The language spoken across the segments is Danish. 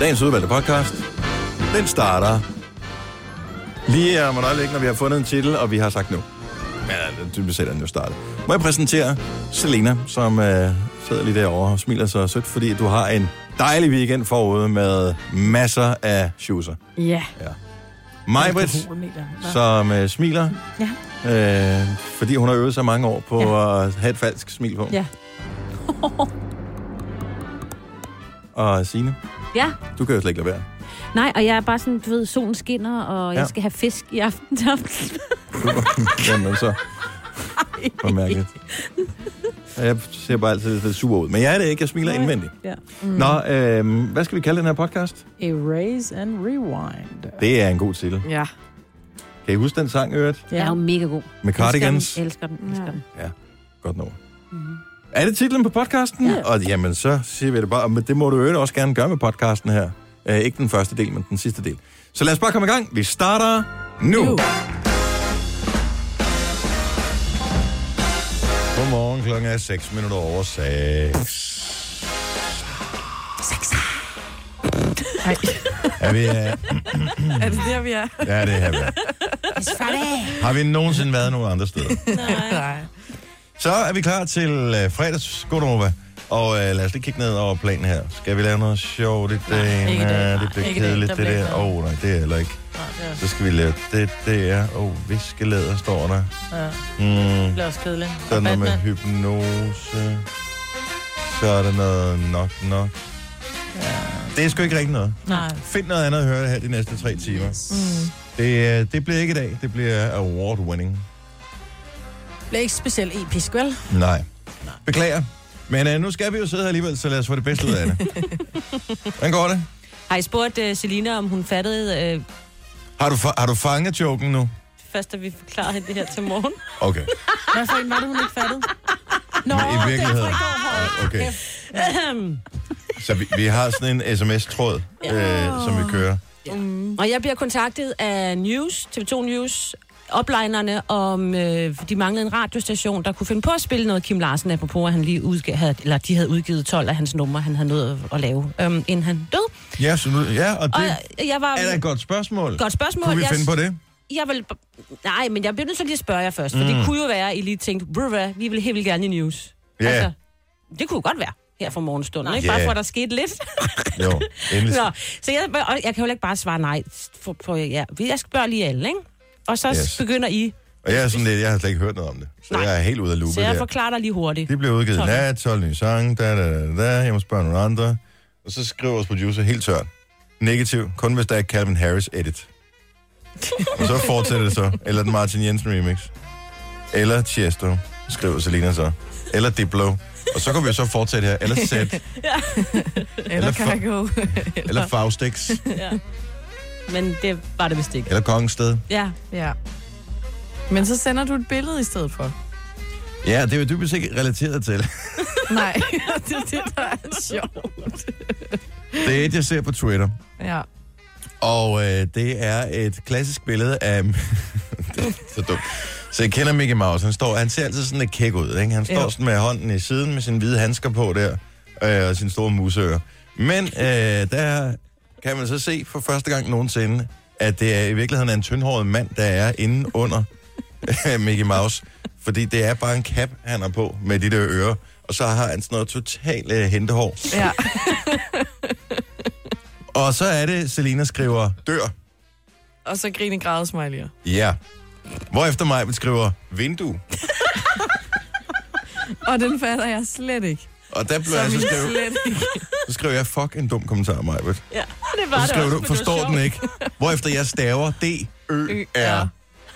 Dagens udvalgte podcast, den starter lige om et øjeblik, når vi har fundet en titel, og vi har sagt nu. Men øh, typisk set er den jo startet. Må jeg præsentere Selena, som øh, sidder lige derovre og smiler så sødt, fordi du har en dejlig weekend forude med masser af shoeser. Ja. Ja. Majbrit, Alkoholmeter, hva? som øh, smiler, Ja. øh, fordi hun har øvet sig mange år på ja. at have et falsk smil på. Ja. Og Signe, Ja. du kan jo slet ikke lade være. Nej, og jeg er bare sådan, du ved, solen skinner, og ja. Ja. jeg skal have fisk i aften. Jamen så. Hvor mærkeligt. Og Jeg ser bare altid lidt sur ud, men jeg er det ikke. Jeg smiler indvendigt. ja. Mm. Nå, øh, hvad skal vi kalde den her podcast? Erase and rewind. Det er en god titel. Ja. Kan I huske den sang, Øret? Ja. Jeg er jo mega god. Med cardigans? Jeg elsker den, jeg elsker den. Godt nummer. Er det titlen på podcasten? Ja. Og jamen, så siger vi det bare. Men det må du jo øvrigt også gerne gøre med podcasten her. Uh, ikke den første del, men den sidste del. Så lad os bare komme i gang. Vi starter nu. nu. Godmorgen, klokken er 6 minutter over 6. Ej, Er vi, uh, Er det der, vi er? ja, det er her. vi er. Har vi nogensinde været nogen andre steder? Nej. Så er vi klar til øh, fredags Godnova. Og øh, lad os lige kigge ned over planen her. Skal vi lave noget sjovt i dag? ikke i dag. Nej, det Nej, bliver ikke i dag. øh, kedeligt, Der det bliver ikke der. Åh, noget. oh, nej, det er heller ikke. Nej, det er også, Så skal vi lave det der. Åh, oh, viskelæder står der. ja, Mm, det er også kedeligt. der er Og noget med Batman. hypnose. Så er der noget nok nok. Det er sgu ikke rigtig noget. Nej. Find noget andet at høre her de næste tre timer. Mm. Det, øh, det bliver ikke i dag. Det bliver award winning. Det er ikke specielt episk, vel? Nej. Beklager. Men øh, nu skal vi jo sidde her alligevel, så lad os få det bedste ud af det. Hvordan går det? Har I spurgt uh, Selina, om hun fattede uh, Har du, fa- har du fanget joken nu? først, da vi forklarede hende det her til morgen? Okay. Hvad for en var det, hun ikke fattede? Nå, Men i virkeligheden. Ah, derfor i går, hvor- Okay. Så vi, vi har sådan en sms-tråd, øh, som vi kører. Og jeg bliver kontaktet af News, TV2 News, oplinerne, om øh, de manglede en radiostation, der kunne finde på at spille noget Kim Larsen, apropos at han lige udgav, havde, eller de havde udgivet 12 af hans numre, han havde nået at, at lave, øhm, inden han døde. Ja, så nu, ja og Og det jeg, jeg var... er da et godt spørgsmål. Godt spørgsmål. Kunne vi jeg, finde på det? jeg vil, nej, men jeg bliver nødt til lige at spørge jer først, for det kunne jo være, at I lige tænkte, "Ved du hvad, vi vil helt vildt gerne i News. Mm. Altså, Ja. Altså- det kunne jo godt være her for morgenstunden, ikke? Ja. Bare for, at der skete lidt. Jo, endelig. Nå, så jeg, og jeg kan jo ikke bare svare nej på, på ja. Jeg spørger lige alle, ikke? Og så Yes. yes. begynder I. Og jeg er sådan lidt, jeg har slet ikke hørt noget om det. Så Nej. jeg er helt ude af loopet Så jeg der. forklarer dig lige hurtigt. Det blev udgivet i 12. nat, 12 nye sange, da, da, da, da, jeg må spørge nogle andre. Og så skriver vores producer helt tørt. Negativ, kun hvis der er Calvin Harris edit. og så fortsætter det så. Eller den Martin Jensen remix. Eller Tiesto, skriver Selina så. Eller Diplo. Og så kan vi jo så fortsætte her. Eller Zed, Eller Eller for- Cargo. eller Faustix, Men det var det vist ikke. eller Kongensted. Ja. Ja. Men så sender du et billede i stedet for. Ja, det er jo dybest ikke relateret til. Nej, det er det, der er sjovt. Det er et, jeg ser på Twitter. Ja. Og øh, det er et klassisk billede af... det er så dumt. Så jeg kender Mickey Mouse. Han, står, han ser altid sådan lidt kæk ud. Ikke? Han står Jo. sådan med hånden i siden med sine hvide handsker på der. Øh, og sine store museører. Men øh, der kan man så se for første gang nogensinde, at det er i virkeligheden er en tyndhåret mand, der er inde under Mickey Mouse. Fordi det er bare en cap, han har på med de der ører. Og så har han sådan noget totalt øh, hentehår. Ja. Og så er det, Selina skriver, dør. Og så grine græde smiley'er. Ja. Hvorefter mig skriver vindue. Og den fatter jeg slet ikke. Og der blev Som jeg så i skrevet, slet ikke. så skrev jeg, fuck en dum kommentar, mig. Så ja. Det var det skrev også, du, men forstår det den ikke. Hvorefter jeg staver D, Ø, R.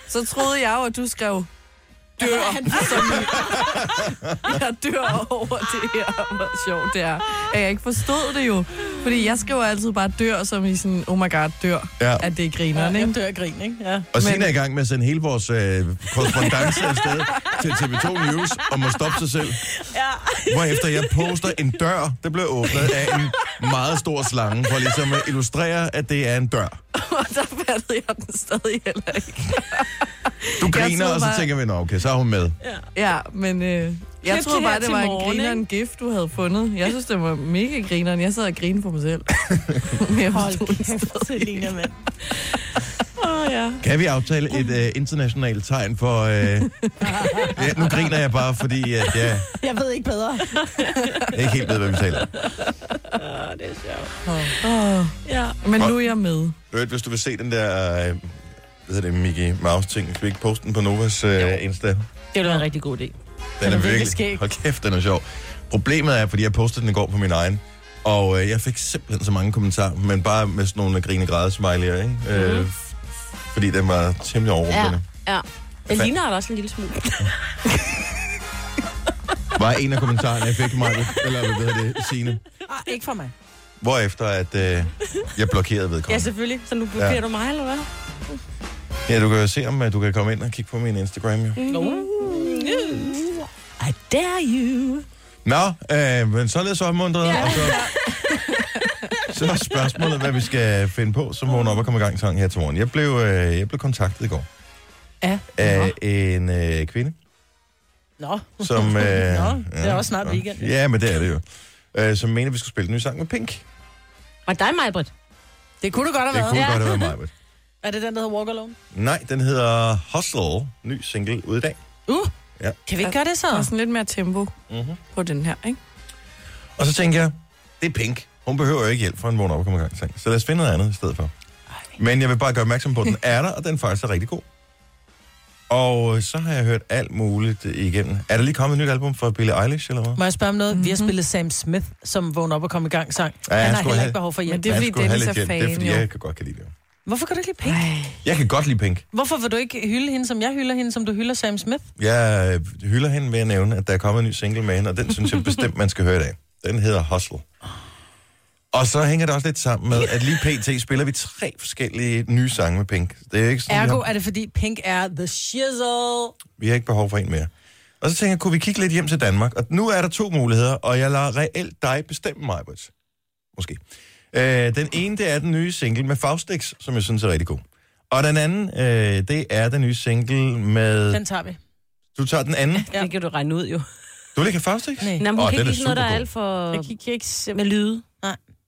Så troede jeg jo, at du skrev dør. Som i, jeg dør over det her, hvor sjovt det er. At jeg ikke forstod det jo. Fordi jeg skriver altid bare dør, som i sådan, oh my god, dør. Ja. At det er grineren, ikke? jeg dør af grin, ikke? Ja. Og Signe er i gang med at sende hele vores øh, korrespondence afsted til TV2 News og må stoppe sig selv. Ja. Hvorefter jeg poster en dør, der blev åbnet af en meget stor slange, for ligesom at illustrere, at det er en dør. Og der fattede jeg den stadig heller ikke. Du griner, troede og så bare- tænker vi, nå okay, så er hun med. Ja, men øh, jeg Klip troede det bare, her det til var en morgen, grineren gift, du havde fundet. Jeg synes, det var mega grineren. Jeg sad og grinede på mig selv. Men jeg forstod det stadig kæft, Selina, mand. Åh, ja. Kan vi aftale et øh, internationalt tegn for... Øh... ja, nu griner jeg bare, fordi øh, at jeg Jeg ved ikke bedre. ikke helt ved, hvad vi taler om. det er sjovt. Åh, Ja. Men nu er jeg med. Øvrigt, Hvis du vil se den der... Øh... Hvad hedder det? Mickey Mouse-ting. Skal vi ikke poste den på Novas øh, Insta? Det ville være en rigtig god idé. Den er virkelig virkelig... skæg. Hold kæft, den er sjov. Problemet er, fordi jeg postede den i går på min egen, og øh, jeg fik simpelthen så mange kommentarer, men bare med sådan nogle grine græde smiley'er, ikke? Mm. Øh, f- fordi den var temmelig overrumpende. Ja. Den Fa- ligner også en lille smule. Ja. Var en af kommentarerne, jeg fik mig, eller hvad hedder det, Signe. Ah, ikke for mig. Hvorefter, at øh, jeg blokerede Ja, vedkommende. selvfølgelig. Så nu blokerer Ja. ja. du mig, eller hvad? Ja, du kan jo se, om øh, du kan komme ind og kigge på min Instagram, jo. No. Mm. I dare you. Nå, øh, men således opmuntret, ja. og så... Så er spørgsmålet, hvad vi skal finde på, som vågner op og kommer i gang sang her til morgen. Jeg blev, øh, jeg blev kontaktet i går. Ja. af en øh, kvinde, Nå, som... Øh, Nå, det er også snart weekend. Ja, men det er det jo. Øh, som mener, vi skulle spille en ny sang med Pink. Og dig, Majbrit. det kunne du godt have Det været. kunne Ja. godt have været mig. men- Er det den, der hedder Walk Alone? Nej, den hedder Hustle, ny single ude i dag. Kan vi ikke gøre det så? Der er sådan lidt mere tempo Mm-hmm. på den her, ikke? Og så tænker jeg, det er Pink. Hun behøver jo ikke hjælp fra en vågen op og kommer i gang sang. Så lad os finde noget andet i stedet for. Men jeg vil bare gøre opmærksom på, at den er der, og den faktisk er rigtig god. Og så har jeg hørt alt muligt igennem. Er der lige kommet et nyt album fra Billie Eilish, eller hvad? Må jeg spørge om noget? Mm-hmm. Vi har spillet Sam Smith, som vågner op og kommer i gang sang. Ja, han han har skulle heller have- ikke behov for hjælp. det er Han fordi, skulle have Dennis lidt er hjælp. Det er fan, fordi, jo. jeg kan godt kan lide det. Hvorfor kan du ikke lide Pink? Jeg kan godt lide Pink. Hvorfor vil du ikke hylde hende, som jeg hylder hende, som du hylder Sam Smith? Jeg øh, hylder hende ved at nævne, at der er kommet en ny single med hende, og den synes jeg bestemt, man skal høre i dag. Den hedder Hustle. Og så hænger det også lidt sammen med, at lige pt. spiller vi tre forskellige nye sange med Pink. Det er ikke sådan, vi, Ergo har, er det, fordi Pink er the shizzle. vi har ikke behov for en mere. Og så tænker jeg, kunne vi kigge lidt hjem til Danmark? Og nu er der to muligheder, og jeg lader reelt dig bestemme mig, Brits. Måske. Øh, den ene, det er den nye single med Faustix, som jeg synes er rigtig god. Og den anden, øh, det er den nye single med... Den tager vi. Du tager den anden. Ja. Det kan du regne ud, jo. Du vil ikke have Faustix? Nej. Nå, men hun Åh, kan den ikke er lide sådan noget, der er supergod. alt for... Jeg kan ikke se... Med lyde.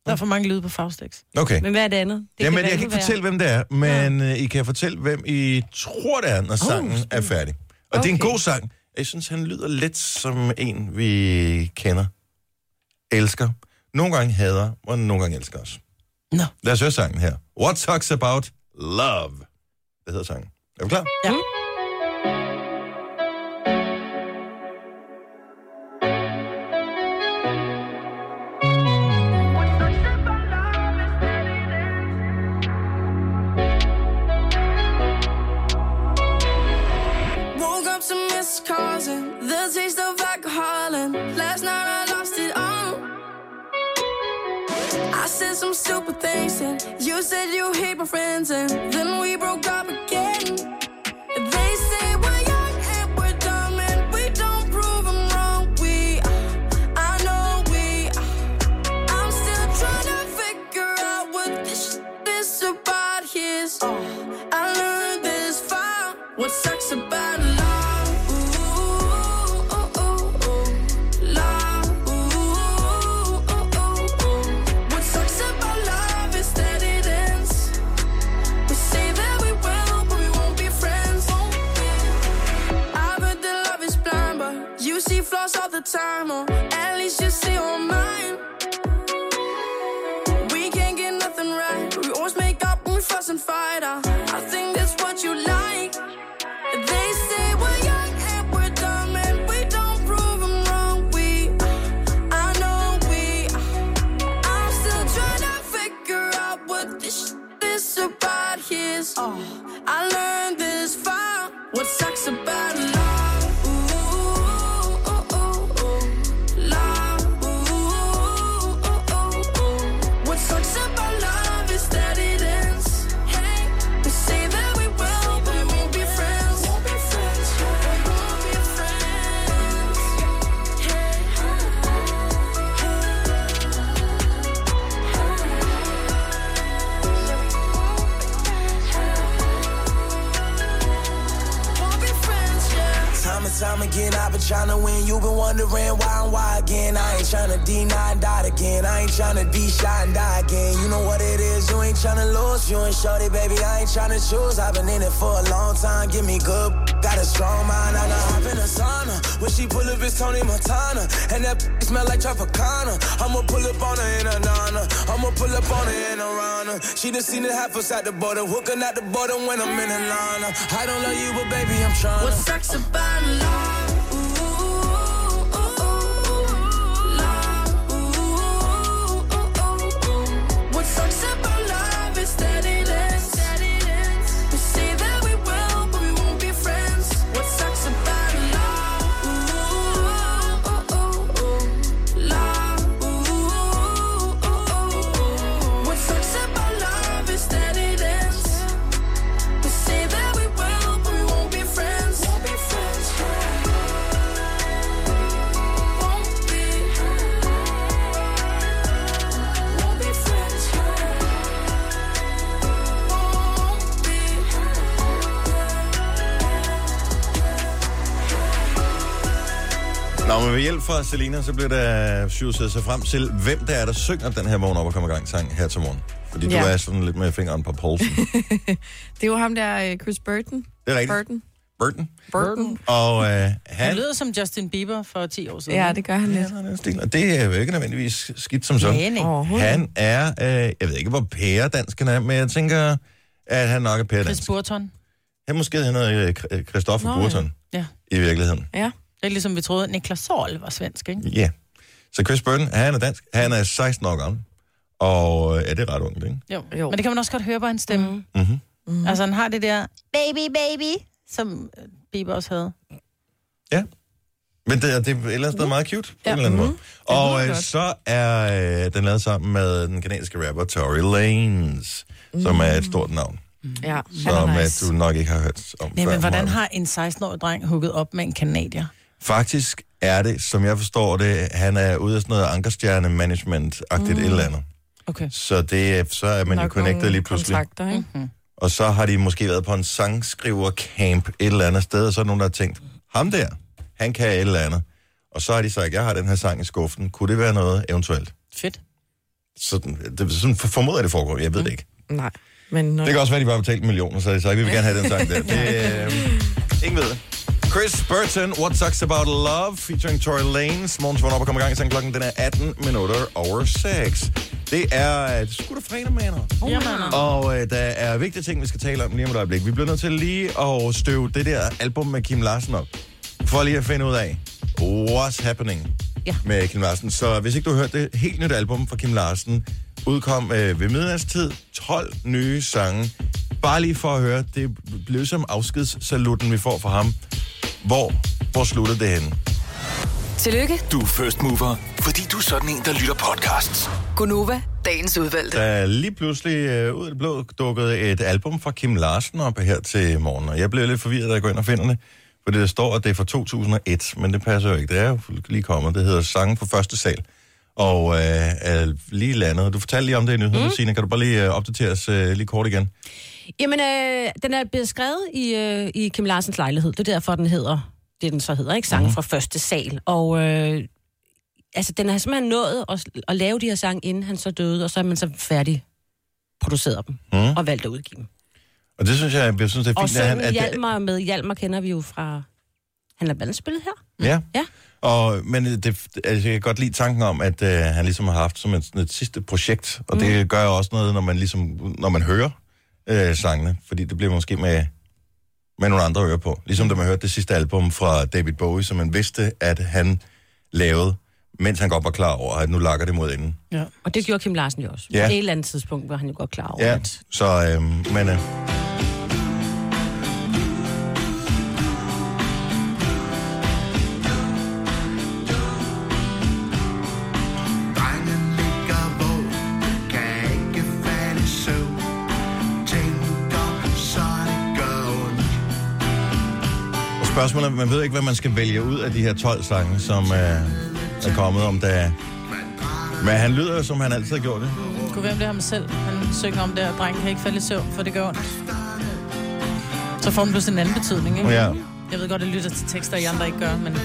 Der er for mange lyde på Faustix. Okay. Men hvad er det andet? Det Jamen, være- jeg kan ikke være- fortælle, hvem det er, men ja. I kan fortælle, hvem I tror, det er, når sangen er færdig. Og okay. det er en Okay. god sang. og Jeg synes, han lyder lidt som en, vi kender. Elsker. Nogle gange hader, og nogle gange elsker os. Nå. Lad os høre sangen her. What Talks About Love. Det hedder sangen. Er du klar? Ja. Woke up to missed calls and the taste of alcohol. And last night I lost it all. I said some stupid things, and you said you hate my friends, and then we broke up again. They say we're young and we're dumb, and we don't prove them wrong. We, uh, I know we, uh, I'm still trying to figure out what this shit is about. Here's all I learned this far. What sucks about love? Ooh, ooh, ooh, ooh. Love. Ooh, ooh, ooh, ooh. What sucks about love is that it ends. We say that we will, but we won't be friends. I've heard that love is blind, but you see flaws all the time, or at least you see on mine. We can't get nothing right. We always make up when we fuss and fight. I, I think that's what you like. They say we're young and we're dumb and we don't prove 'em wrong. We, I know we, I'm still trying to figure out what this shit is about. Here's all I learned this far. What sucks about love? Ooh, ooh, ooh, ooh. Love. Ooh, ooh, ooh, ooh. What sucks about love is that it ends. Hey, we say that we will, but we won't be friends. Won't be friends. We won't be friends. Hey, hey, hey. been tryna win, you been wondering why and why again. I ain't tryna deny and die again. I ain't tryna be shy and die again. You know what it is, you ain't tryna lose. You ain't shorty, baby, I ain't tryna choose. I've been in it for a long time, give me good. Got a strong mind, I done hop in a sauna. When she pull up, it's Tony Montana. And that smell like Tropicana. I'ma pull up on her in a nana. I'ma pull up on her in a rana. She done seen it half us at the border. Hooking at the border when I'm in Atlanta. I don't love you, but baby, I'm tryna. What sucks about love? Ooh, ooh, ooh, love. Ooh, ooh, ooh. What sucks about love is that it ends. We say that we will, but we won't be friends. What sucks about love? Ooh, ooh, ooh, ooh, love. Ooh, ooh, ooh. What sucks about love is that it ends. We say that we will, but we won't be friends. Won't be friends. Won't be. Won't be friends. Won't be. Nå, men ved hjælp fra Selina, så bliver der syvsæt sig frem til, hvem der er, der synger den her vågn op og kommer i gang sang her til morgen. Fordi ja. du Ja. er sådan lidt med fingeren på pulsen. Det er jo ham der, øh, Chris Burton. Det er rigtigt. Burton. Burton. Burton. Og øh, han... Han lyder som Justin Bieber for 10 år siden. Ja, det gør han lidt. han er en stil, Og det er jo ikke nødvendigvis skidt som sådan. Nej, nej. Overhovedet. Han er, øh, jeg ved ikke, hvor pæredansk han er, men jeg tænker, at han nok er Chris pæredansk. Burton. Han måske han hedder øh, Kr- øh, Christoffer Nå, ja. Burton Ja. i virkeligheden. Ja. Det er ligesom vi troede, at Niklas Sorl var svensk, ikke? Ja. Så Chris Burton, han er dansk. Han er 16 år gammel. Og øh, ja, det er ret ungt, ikke? Jo. Jo. jo. Men det kan man også godt høre på hans stemme. Mm. Mhm. Mm. Altså, han har det der baby, baby, som øh, Bieber også havde. Men det, er- det er et eller andet sted meget cute, på Mhm. Ja. Mhm. en eller anden måde. Og lyder øh, godt. så er øh, den lavet sammen med den kanadiske rapper Tory Lanez, mm. som er et stort navn, Mm-hmm. Ja, som øh, han er nice. nice. du nok ikke har hørt om Ja, før. men hvordan Maja. har en 16-årig dreng hugget op med en kanadier? Faktisk er det, som jeg forstår det, han er ude af sådan noget ankerstjerne-management-agtigt mm. et eller andet. Okay. Så, det, er- så er man jo Nok connected nogle lige pludselig. Kontrakter, ikke? Og så har de måske været på en sangskrivercamp et eller andet sted, og så er der nogen, der har tænkt, ham der, han kan et eller andet. Og så har de sagt, jeg har den her sang i skuffen, kunne det være noget eventuelt? Mm. Fedt. Sådan, det, sådan for- formoder jeg, det foregår, jeg ved det ikke. Nej, men når Det kan også være, de bare har betalt en million, og så har de sagt, vi vil gerne have den sang der. Det, øh, ingen ved det. Chris Burton, What Sucks About Love, featuring Tory Lanez. Morgens vågn op og kommer i gang, så klokken den er 18 minutter over 6. Det er øh, sgu da fredag, maner. Oh, Jamen, Uh. Og øh, der er vigtige ting, vi skal tale om lige om et øjeblik. Vi bliver nødt til lige at støve det der album med Kim Larsen op. For lige at finde ud af, what's happening Ja. med Kim Larsen. Så hvis ikke du har hørt det, helt nyt album fra Kim Larsen udkom øh, ved midnatstid. 12 nye sange. Bare lige for at høre, det blev som afskedssaluten, vi får fra ham. Hvor, hvor slutter det henne? Tillykke, Du er first mover, fordi du er sådan en, der lytter podcasts. Gunova, dagens udvalgte. Der er lige pludselig øh, ud af det blå dukket et album fra Kim Larsen op her til morgen, og jeg blev lidt forvirret, da jeg går ind og finder det, for det står, at det er fra 2001, men det passer jo ikke. Det er jo lige kommet. Det hedder Sange på første sal, og øh, er lige landet. Du fortalte lige om det i nyheden, mm. Signe. Kan du bare lige øh, opdatere os øh, lige kort igen? Jamen, øh, den er blevet skrevet i, øh, i Kim Larsens lejlighed. Det er derfor, den hedder, det den så hedder, ikke? Mhm. Sange fra første sal. Og øh, altså, den har simpelthen nået at, at lave de her sange, inden han så døde, og så er man så færdig produceret dem Mhm. mm. og valgt at udgive dem. Og det synes jeg, jeg synes, det er Og fint, at han... så At det, Hjalmar med Hjalmar kender vi jo fra... Han har blandt andet spillet her. ja. Ja. Og, men det, altså, jeg kan godt lide tanken om, at øh, han ligesom har haft som et, et sidste projekt, og mm. det gør jo også noget, når man, ligesom, når man hører øh, sangene, fordi det bliver måske med, med nogle andre ører på. Ligesom da man hørte det sidste album fra David Bowie, som man vidste, at han lavede, mens han godt var klar over, at nu lakker det mod enden. Og det gjorde Kim Larsen jo også. Ja. Ja. På et eller andet tidspunkt var han jo godt klar over, Ja, at så øh, men... Øh, Drengen ligger vågen, kan ikke falde i søvn. Tænker, så det gør ondt. Og spørgsmålet er, man ved ikke, hvad man skal vælge ud af de her 12 sange, som øh, er kommet om, da... Men han lyder jo, som han altid har gjort det. Kunne være, om det er ham selv. Han synger om det, at drengen kan ikke falde i søvn, for det gør ondt. Så får den pludselig en anden betydning, ikke? Ja. Jeg ved godt, at jeg lytter til tekster, I andre ikke gør, men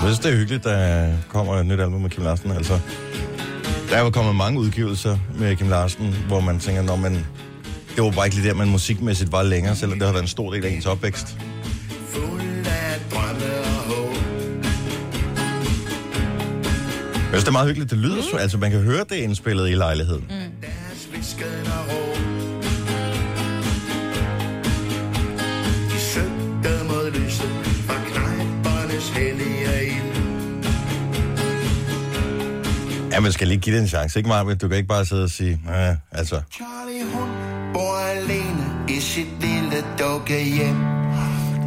synes, det er hyggeligt, der kommer et nyt album med Kim Larsen. Altså, der er jo kommet mange udgivelser med Kim Larsen, hvor man tænker, når man... Det var bare ikke lige der, man musikmæssigt var længere, selvom det har været en stor del af ens opvækst. Fuld af drømme og håb Jeg synes, det er meget hyggeligt. Det lyder mm. så, altså man kan høre det indspillet i lejligheden. Mm. Deres visken og råb De søgte mod lyset Fra knejpernes hellige ild Ja, man skal lige give det en chance, ikke Marvind? Du kan ikke bare sidde og sige, "Næh," altså, Charlie hun bor alene i sit lille dukkehjem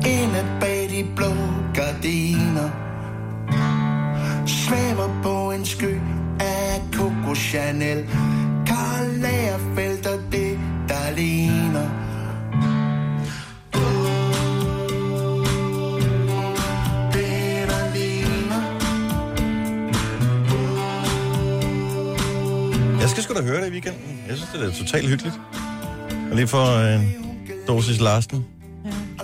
Inde bag de blå gardiner Svæver på en sky af Coco Chanel Karl Lagerfeldt og det der ligner Uh, det, der ligner. jeg skal sgu da høre det i weekenden. Jeg synes, det er totalt hyggeligt. Og lige for øh, dosis Larsen.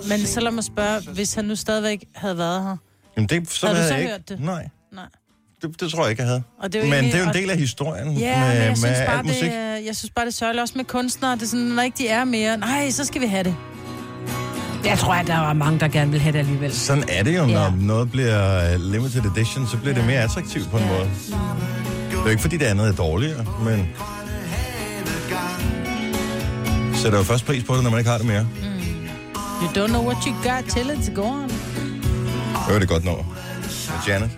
Men så lad mig spørge, hvis han nu stadigvæk havde været her. Jamen, det, så Havde du havde så jeg ikke. hørt det? Nej, Nej. det, det, tror jeg ikke, jeg havde. Og Det jo men egentlig- det er jo en og- del af historien Ja, med, men jeg med synes, alt bare, musik. det, er- jeg synes bare, det er sørgeligt også med kunstnere. Det er sådan, når ikke de er mere, nej, så skal vi have det. Jeg tror, at der var mange, der gerne vil have det alligevel. Sådan er det jo, når ja. noget bliver øh, limited edition, så bliver det mere attraktivt på en ja. måde. Det er jo ikke, fordi det andet er dårligere, men... Sætter jo først pris på det, når man ikke har det mere. You don't know what you got till it's gone. Det var det godt nummer. Med Janet.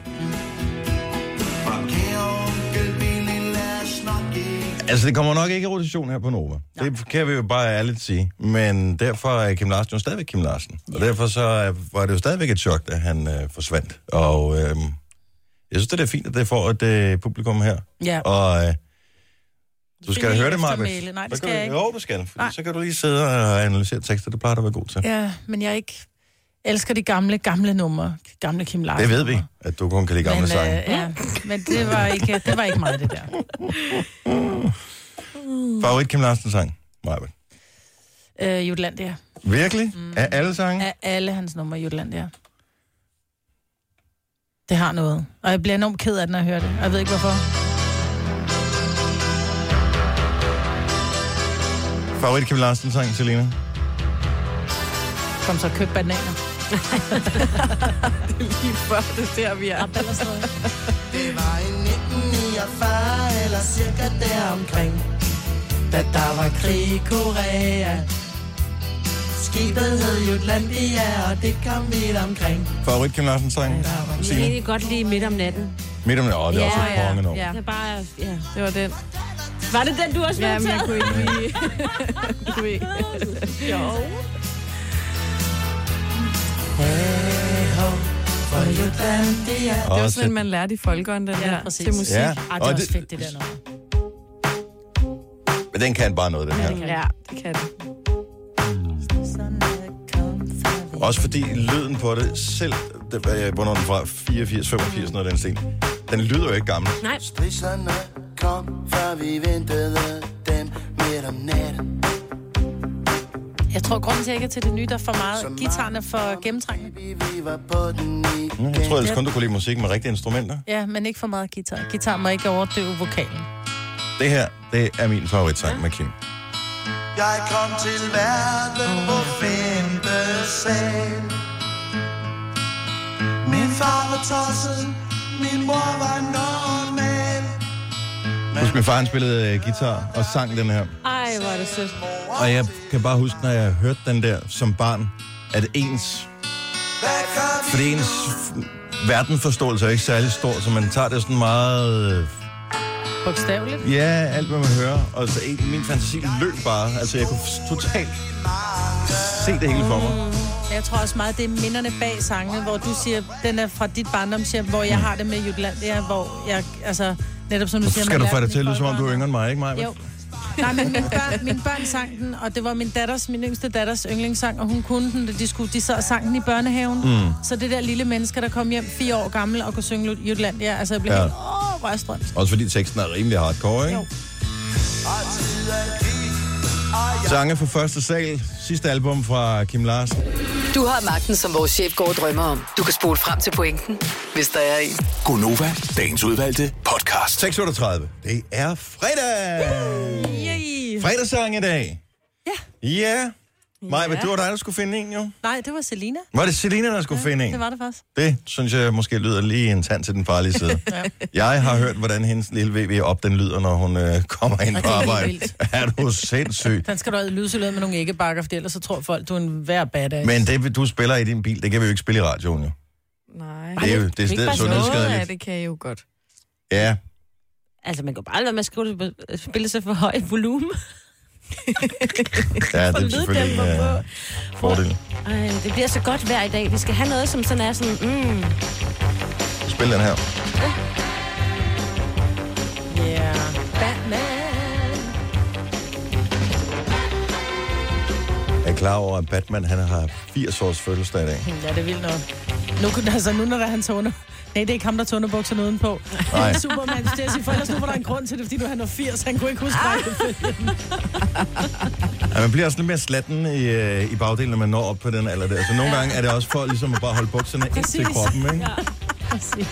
Altså, det kommer nok ikke i rotation her på Nova. Det kan vi jo bare ærligt sige. Men derfor er Kim Larsen jo stadigvæk Kim Larsen. Og derfor så øh, var det jo stadigvæk et chok, da han øh, forsvandt. Og øh, jeg synes, det er fint, at det får et øh, publikum her. Ja. Og øh, du skal Finde høre det, eftermæle. Maja. Nej, det skal jeg ikke. Jo, du skal. Fordi så kan du lige sidde og analysere tekster. Det plejer du at være god til. Ja, men jeg ikke elsker de gamle, gamle numre. Gamle Kim Larsen. Det ved vi, at du kun kan lide gamle Men, sange. øh, ja, men det var ikke, det var ikke meget, det der. Favorit Kim Larsen sang, Maja. Øh, Jutlandia. Virkelig? Mm. Af alle sange? Af alle hans numre, Jutlandia. Det har noget. Og jeg bliver enormt ked af det, når jeg hører det. Og jeg ved ikke, hvorfor. Favorit Kim Larsen sang, Selina? Kom så, køb bananer. Lige før det er der, vi er. Eller sådan noget. Det var i 1949 eller cirka deromkring, da der var krig i Korea. Skibet hed Jutlandia, og det kom vidt omkring. Favorit Kim Larsen sang, Jeg Selina? kan godt lige midt om natten. Midt om året, det er Ja, også et ja, kongenummer. ja. Det er bare, ja. Det var den. Var det den, du også Ja, men jeg noteret? kunne ikke lige... du ved. Og Det var så- sådan, en, man lærte i folkeånden, den der præcis. til musik. Ja, Ja. Ej, det og er også fedt, det der nummer. Men den kan bare noget, den her. ja, det kan det. Også fordi lyden på det selv, det, var, øh, hvornår er den fra 84, 85, noget af den sten, den lyder jo ikke gammel. Nej, Stridserne kom, før vi ventede dem midt om natten. Jeg tror, grunden til, at jeg ikke er til det nye, der er for meget guitarerne for gennemtrængende. Vi var på den Mm. igen. Jeg tror ellers kun, du kunne lide musik med rigtige instrumenter. Ja, men ikke for meget guitar. Guitar må ikke overdøve vokalen. Det her, det er min favoritsang med Kim. Jeg kom til verden på femte sal Min far var tosset, min mor var normal Husk, min far han spillede øh, guitar og sang den her. ej, hvor er det sødt. Og jeg kan bare huske, når jeg hørte den der som barn, at ens Hvad gør vi? Fordi ens verdenforståelse er ikke særlig stor, så man tager det sådan meget... øh, Bogstaveligt. Ja, alt hvad man hører. Og så en- min fantasi løb bare. Altså, jeg kunne f- totalt se det hele for mig. Mm. Jeg tror også meget, det er minderne bag sangene, hvor du siger, den er fra dit barndomshjem, hvor Mm. jeg har det med Jutlandia, hvor jeg, altså, netop som du Så siger... skal man du lærer få det den i til at lyde, som om du er folkebarnet. yngre end mig, ikke mig? Jo. Nej, men mine børn, mine børn sang den, og det var min datters, min yngste datters yndlingssang, og hun kunne den, da de, skulle, de sad og sang den i børnehaven. Mm. Så det der lille menneske, der kom hjem fire år gammel og kunne synge Jutlandia, altså jeg blev Ja. ja. helt, åh, hvor er jeg strømsk. Også fordi teksten er rimelig hardcore, ikke? Jo. Sange fra første sal, sidste album fra Kim Larsen. Du har magten, som vores chef går og drømmer om. Du kan spole frem til pointen, hvis der er en. Gonova, dagens udvalgte podcast. 6.38. Det er fredag! Yay. Fredagssang i dag. Ja. Ja. Maja, Ja. det var dig, der skulle finde en, jo. Nej, det var Selina. Var det Selina, der skulle finde en? Det var det faktisk. Det synes jeg måske lyder lige en tand til den farlige side. Ja. Jeg har hørt, hvordan hendes lille VV op, den lyder, når hun øh, kommer ind Og på det er helt arbejde. vildt. Er du sindssyg? Den skal du have lyselød med nogle æggebakker, for ellers så tror folk, du er en værd badass. Men det, du spiller i din bil, det kan vi jo ikke spille i radioen, jo. Nej. Det er jo det er ikke stedet bare Noget af sundhedsskadeligt. det kan jeg jo godt. Ja, Altså, man kan jo bare lade være med at skrive det på- spille så for højt volumen. ja det er lyddæmper selvfølgelig en øh, fordel. Ej, det bliver så godt hver i dag. Vi skal have noget, som sådan er sådan, mm, Spil den her. Yeah. Jeg er klar over, at Batman han har 80 års fødselsdag i dag. Ja, det er vildt nok. Nu, kunne- altså, nu når der er hans under... Nej, det er ikke ham, der tog underbukserne udenpå. Nej. Superman, det jeg sige, for ellers nu var der en grund til det, fordi du han var 80, han kunne ikke huske Ah. det. Ja, man bliver også lidt mere slatten i, øh, i bagdelen, når man når op på den alder der. Så nogle gange er det også for ligesom at bare holde bukserne ind til Præcis. kroppen, ikke? Præcis.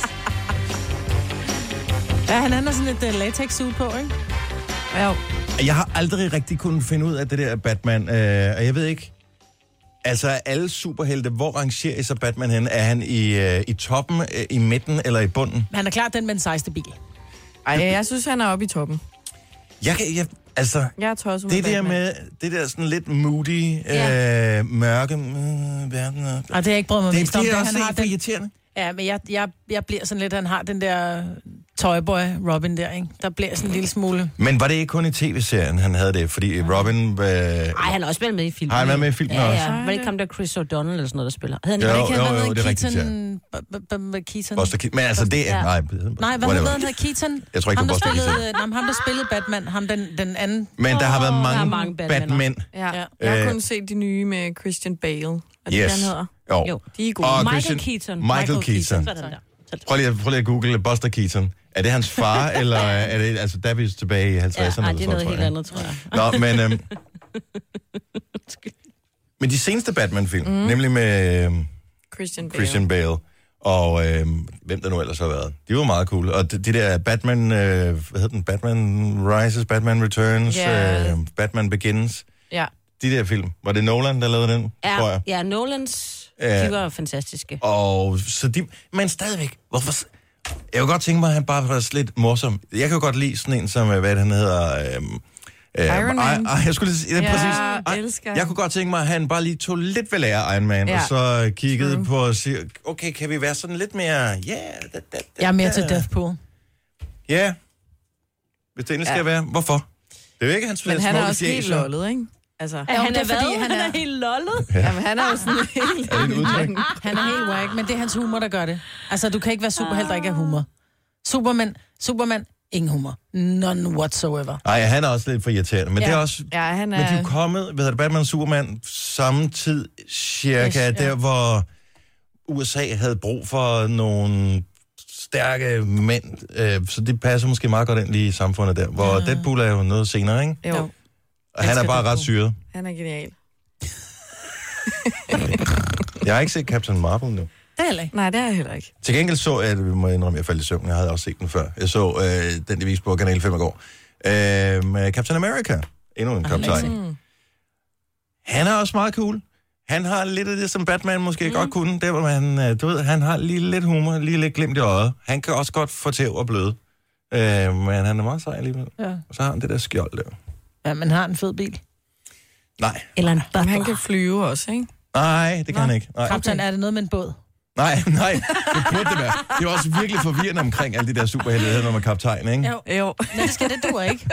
Ja, han han har sådan et uh, latex ud på, ikke? Ja, Jeg har aldrig rigtig kunnet finde ud af det der Batman, øh, og jeg ved ikke... Altså, er alle superhelte, hvor rangerer I så Batman hen? Er han i, øh, i toppen, øh, i midten eller i bunden? Men han er klart den med den sejeste bil. Ej, jeg synes, han er oppe i toppen. Jeg kan... Jeg, altså, Jeg er tosset det der Batman. med... Det der sådan lidt moody, øh, mørke... Øh, verden og... Og det har jeg ikke prøvet mig Det, mest om. det er er, også han har helt den, irriterende. ja, men jeg, jeg, jeg bliver sådan lidt, han har den der Toyboy Robin der, ikke? Der bliver sådan en lille smule... Men var det ikke kun i tv-serien, han havde det? Fordi Robin... Øh, ej, han har også været med i filmen. har han været med i filmen Ja, også? ja. Var det ikke ham, der Chris O'Donnell eller sådan noget, der spiller? Hed han Jo, ikke- Ikke, han jo, var jo, med i det er rigtigt, Keaton- b- b- b- Keaton. Buster Keaton. Men altså, det er... Ja. Nej, Nej, hvad hedder han? Han hedder Keaton. Jeg tror ikke, ham, det der var Buster spillede, øh, nej, ham, der spillede Batman. Ham, den, den anden. Men der har været Åh, der mange, er mange mange Batman. Batman'er. Ja. Ja. Jeg har Øh, kun set de nye med Christian Bale. Er det, Yes. yes. han hedder? Jo. Jo. De er gode. Og Michael Christian- Keaton. Michael Keaton. Sådan der. Sådan der. Prøv lige, prøv lige at google Buster Keaton. Er det hans far, eller er det... Altså, der er vi jo tilbage i 50'erne. Ja, eller ej, det sådan er noget tror helt jeg. andet, tror jeg. Nå, men... Øhm, men de seneste Batman-film, mm. nemlig med øhm, Christian Bale. Christian Bale, og øhm, hvem der nu ellers har været, de var meget cool. Og det de der Batman... Øh, hvad hedder den? Batman Rises, Batman Returns, Ja. yeah. øh, Batman Begins. Ja. De der film. Var det Nolan, der lavede den, tror jeg? Ja, ja, Nolans, Ja. de var fantastiske. Og så de, men stadigvæk, hvorfor... s- Jeg kunne godt tænke mig, at han bare var lidt morsom. Jeg kan jo godt lide sådan en som, øh, hvad er det, han hedder... Øhm, Iron Man. Ej, jeg skulle lige sige, ja, Ja, præcis. Ej, elsker. Jeg kunne godt tænke mig, at han bare lige tog lidt ved lære Iron Man, ja. Ja. og så øh, kiggede True. på og siger, okay, kan vi være sådan lidt mere... Yeah, da, da, da, Jeg er mere til da." Deathpool. Ja, hvis det endelig skal Ja. være. Hvorfor? Det er jo ikke hans Men han smukke er også helt fjeser. lollet, ikke? Altså, Ja, han er fordi, hvad? han Han er helt lollet. jamen, han er jo sådan helt... Er det et udtryk? Han er helt wack, men det er hans humor, der gør det. Altså, du kan ikke være superhelt, der ikke er humor. Superman, Superman, ingen humor. None whatsoever. Nej, han er også lidt for irriterende, men ja. Ja. det er også Ja, han Men de er er... jo kommet, hvad hedder det, Batman og Superman, samme tid cirka, yes, Yes, der ja. hvor USA havde brug for nogle stærke mænd, øh, så det passer måske meget godt ind lige i samfundet der, hvor ja. Deadpool er jo noget senere, ikke? Jo, Og han er Elsker bare ret Deadpool. syret. han er genial. Jeg har ikke set Captain Marvel nu. Det er heller ikke. Nej, det er jeg heller ikke. Til gengæld så jeg, det må jeg indrømme, jeg faldt i søvn, jeg havde også set den før. Jeg så øh, den, de viste på Kanal 5 i går. Øh, med Captain America. Endnu en kaptajn. Han er også meget cool. Han har lidt af det, som Batman måske mm. godt kunne. Der, hvor man, øh, du ved, han har lige lidt humor, lige lidt glimt i øjet. Han kan også godt få tæv og bløde. Øh, men han er meget sej alligevel. Ja. Og så har han det der skjold der. ja, man har en fed bil. Nej, Eller en Men butler. han kan flyve også, ikke? nej, det kan han ikke. Nej. Kaptajn, er det noget med en båd? Nej, nej, det burde det være. Det er også virkelig forvirrende omkring alle de der superhelte, når man er kaptajn, ikke? Jo. Nej, det skal det du ikke.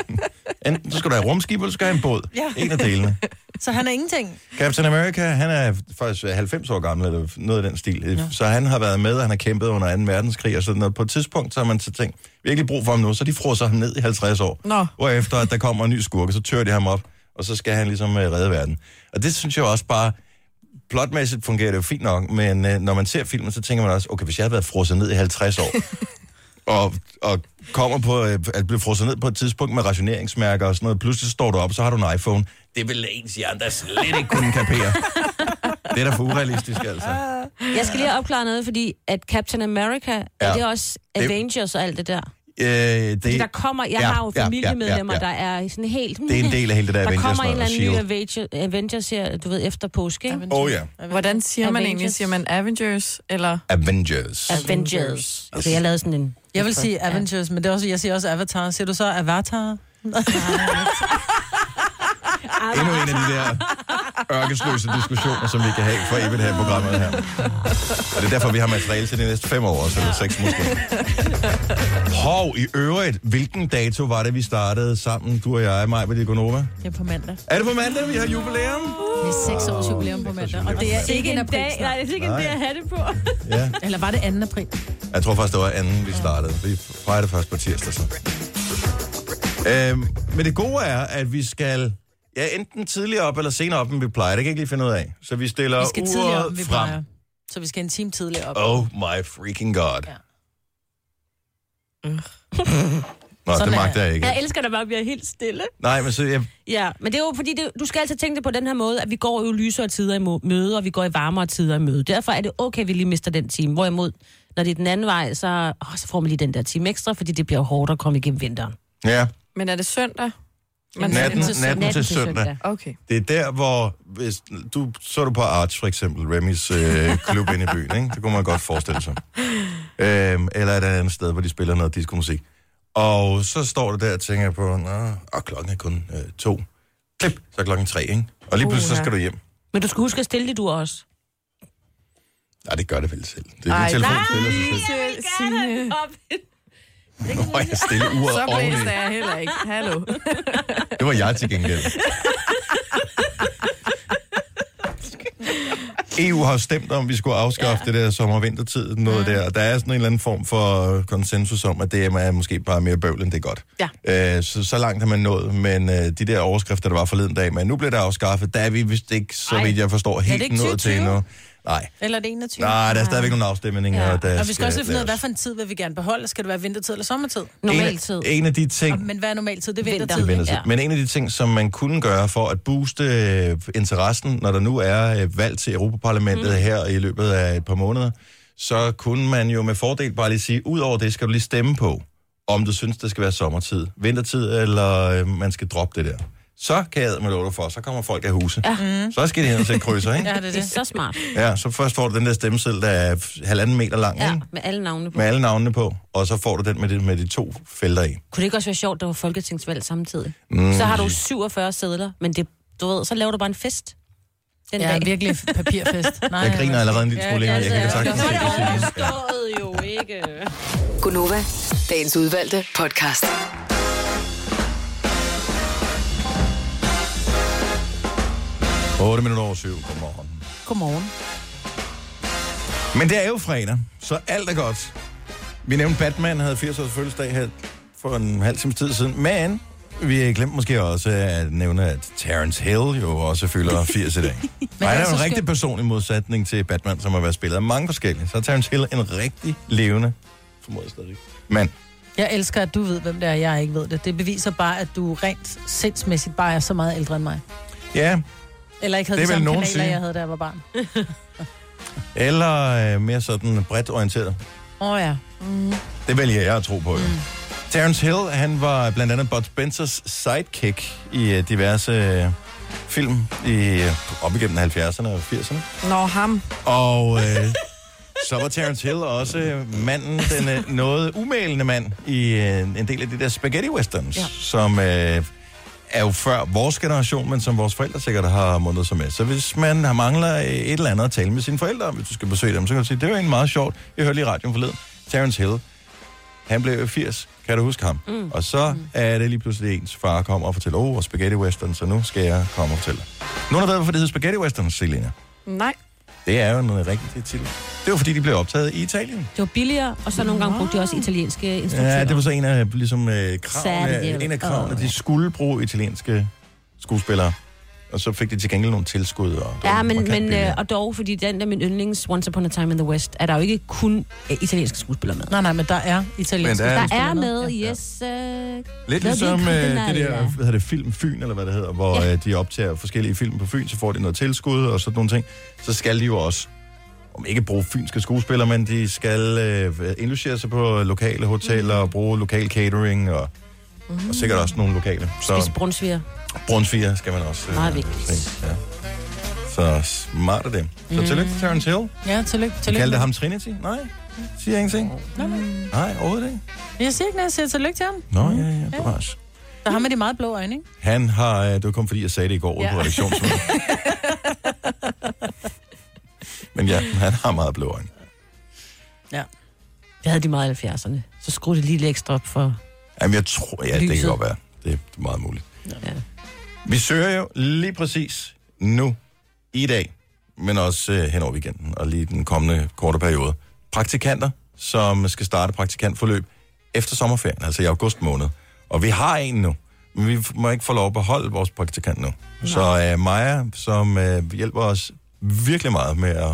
Enten så skal du have rumskib, eller så skal du have en båd. Ja. Ja. En af delene. Så han er ingenting. Captain America, han er faktisk 90 år gammel, eller noget i den stil. Ja. Så han har været med, og han har kæmpet under 2. verdenskrig og sådan noget. På et tidspunkt, så har man så tænkt, virkelig brug for ham nu, så de frosser ham ned i 50 år. Nå. Hvor efter, at der kommer en ny skurke, så tør de ham op, og så skal han ligesom øh, redde verden. Og det synes jeg også bare, plotmæssigt fungerer det jo fint nok, men øh, når man ser filmen, så tænker man også, okay, hvis jeg havde været frosset ned i 50 år, og, og kommer på, øh, at blive frosset ned på et tidspunkt med rationeringsmærker Altså, og sådan noget. Pludselig står du op, så har du en iPhone. Det vil ens hjerne, der slet ikke kunne kapere. Det er da for urealistisk, altså. Ah. Jeg skal lige have opklaret noget, fordi at Captain America, ja. Ja. er det også Det- Avengers og alt det der? Øh, det, Fordi der kommer, jeg ja, har jo ja, ja, familiemedlemmer, ja, ja, ja. der er sådan helt... Det er en del af hele det der Der Avengers kommer en noget, eller anden og ny Avengers, Avengers her, du ved, efter påske, ikke? Åh oh, ja, Hvordan siger man egentlig? Avengers. Siger man Avengers, eller... Avengers. Avengers. Okay, jeg lavede sådan en... Jeg vil sige Avengers, men det er også, jeg siger også Avatar. Siger du så Avatar? Endnu en af de der ørkesløse diskussioner, som vi kan have for evigt her i programmet her. Og det er derfor, vi har materiale til de næste fem år, også, eller seks måske. Hov, i øvrigt, hvilken dato var det, vi startede sammen, du og jeg, mig ved Gonova? Det er på mandag. Er det på mandag, vi har jubilæum? Det er seks års jubilæum på mandag, og det er ikke en april nej, det er ikke en dag at have det på. Ja. Eller var det 2. april? Jeg tror faktisk, det var anden, vi startede. Vi fejrede det først på tirsdag, så. Øhm, men det gode er, at vi skal ja, enten tidligere op eller senere op, end vi plejer. Det kan jeg ikke lige finde ud af. Så vi stiller Vi skal tidligere op, uret end vi frem. plejer. Så vi skal en time tidligere op. Oh my freaking god. Ja. Nå, Sådan det er magter jeg ikke. Jeg elsker, at der bare bliver helt stille. Nej, men så jeg, Ja, men det er jo fordi, det, du skal altid tænke det på den her måde, at vi går jo lysere tider i mo- møde, og vi går i varmere tider i møde. Derfor er det okay, at vi lige mister den time. Hvorimod, når det er den anden vej, så, åh, så får man lige den der time ekstra, fordi det bliver hårdt at komme igennem vinteren. ja, Men er det søndag? natten, natten, til, natten til søndag. Okay. Det er der, hvor hvis du så du på Arch, for eksempel, Remys øh, klub inde i byen, ikke? det kunne man godt forestille sig. Øhm, eller et andet sted, hvor de spiller noget diskomusik. Og så står du der og tænker på, Nå, og klokken er kun øh, to. Klip, så er klokken tre, ikke? Og lige pludselig så Uha. skal du hjem. Men du skal huske at stille dit ur også. Nej, det gør det vel selv. Det er Ej, din telefon, nej, der stiller sig selv. Signe. Nå, jeg stiller uret Så oveni. blæser jeg heller ikke. Hallo. Det var jeg til gengæld. EU E har stemt om, at vi skulle afskaffe ja. det der sommer- og vintertid, noget mm. der. Og Der er sådan en eller anden form for øh, konsensus om, at det er måske bare mere bøvl, end det er godt. Ja. Øh, så, så langt har man nået, men øh, de der overskrifter, der var forleden dag, men nu bliver det afskaffet, der er vi vist ikke, så vidt jeg forstår, helt ikke nået til 2020? endnu. Nej. Eller er det 21? Nej, der er stadigvæk nogle afstemninger. Ja. Ja. Der Og vi skal også lige finde ud af, hvad laves. for en tid vil vi gerne beholde. Skal det være vintertid eller sommertid? Normaltid. En, af- en af de ting, Men hvad er normaltid? Det er Vinter. vintertid. Vender sig. Ja. Men en af de ting, som man kunne gøre for at booste øh, interessen, når der nu er øh, valg til Europaparlamentet mm. her i løbet af et par måneder, så kunne man jo med fordel bare lige sige, ud over det skal du lige stemme på, om du synes, det skal være sommertid, vintertid, eller øh, man skal droppe det der. Så kan jeg med lov for, så kommer folk af huse. Ja. Mm. Så skal de hen og sætte krydser, ikke? Ja, det er Det er det. så smart. Ja, så først får du den der stemmeseddel, der er f- halvanden meter lang, ja. Ja, ikke? med alle navne på. Med alle navnene på, og så får du den med de, med de to felter i. Kunne det ikke også være sjovt, at der var folketingsvalg samtidig? Mm. Så har du 47 sædler, men det, du ved, så laver du bare en fest den Ja, dag. virkelig papirfest. Nej, Jeg griner allerede en lille smule længere. Jeg kan sagtens se, det det synes jeg. Ja. overstået jo ikke. Gunova, dagens udvalgte podcast. Otte minutter over syv. Godmorgen. Godmorgen. Men det er jo fredag, så alt er godt. Vi nævnte, Batman havde 80 års fødselsdag her for en halv times tid siden, men vi glemte måske også at nævne, at Terence Hill jo også fylder 80 i dag. Nej, det han er er jo så en rigtig skønt. personlig modsætning til Batman, som har været spillet af mange forskellige. Så er Terence Hill en rigtig levende, formodet stadig, mand. Jeg elsker, at du ved, hvem det er, jeg ikke ved det. Det beviser bare, at du rent sindsmæssigt bare er så meget ældre end mig. Ja, Eller ikke havde Det det vil de samme nogen kanaler, sige. jeg havde, da jeg var barn. eller øh, mere sådan bredt orienteret. Åh oh, ja. Det vælger jeg at tro på, jo. Mm. Terence Hill, han var blandt andet Bud Spencers sidekick i øh, diverse øh, film i, øh, op igennem 70'erne og 80'erne. Nå, ham. Og øh, så var Terence Hill også øh, manden, den øh, noget umælende mand i øh, en del af de der spaghetti westerns, ja. som øh, er jo før vores generation, men som vores forældre sikkert har mundet sig med. Så hvis man har mangler øh, et eller andet at tale med sine forældre om, hvis du skal besøge dem, så kan du sige, det var egentlig meget sjovt. Jeg hørte lige i radioen forleden. Terence Hill, han blev jo 80. Kan du huske ham? Mm. Og så er det lige pludselig ens far kommer og fortæller, åh, oh, spaghetti westerns, så nu skal jeg komme og fortælle. Nogen har ved, hvorfor det hedder spaghetti westerns, Selina? Nej. Det er jo en rigtig titel. Det var fordi, de blev optaget i Italien. Det var billigere, og så nogle gange brugte de også italienske instruktører. Ja, det var så en af, ligesom, øh, kravene, Særlig. en af kravene, Åh. de skulle bruge italienske skuespillere. Og så fik de til gengæld nogle tilskud. Og det var Ja, men, markant men øh, billigere. og dog, fordi den der min yndlings Once Upon a Time in the West, er der jo ikke kun øh, italienske skuespillere med. Nej, nej, men der er italienske Men der er- Der er med, yes. Øh, Lidt Lad ligesom øh, det komme, det der, hvad Nadia. hedder det, film Fyn, eller hvad det hedder, hvor ja. øh, de optager forskellige film på Fyn, så får de noget tilskud og sådan nogle ting. Så skal de jo også, om ikke bruge fynske skuespillere, men de skal øh, indlogere sig på lokale hoteller og bruge lokal catering og, mm. og sikkert også nogle lokale. Spis Så Mhm. brunsviger. brunsviger skal man også. Øh, Meget vigtigt. se, Ja. Så smart af dem. Så mm. tillykke til Terrence Hill. Ja, tillykke. Du tillykke. kaldte ham Trinity? Nej, siger ingenting. Nej, nej. Nej, overhovedet ikke. Jeg siger ikke noget, jeg siger tillykke til ham. Nå, ja, ja, det var også. Der har med de meget blå øjne, ikke? Han har, øh, det var kun fordi, jeg sagde det i går ja. Ja. på redaktionsmødet. Men ja, han har meget blå øjne. Det havde de meget i 70'erne. Så skruede det lige lidt ekstra op for... Jamen, jeg tror, ja, det kan Lyset. godt være. Det er meget muligt. Ja. Vi søger jo lige præcis nu, i dag, men også øh, hen over weekenden og lige den kommende korte periode, praktikanter, som skal starte praktikantforløb efter sommerferien, altså i august måned. Og vi har en nu, men vi må ikke få lov at beholde vores praktikant nu. Nej. Så øh, Maja, som øh, hjælper os virkelig meget med at,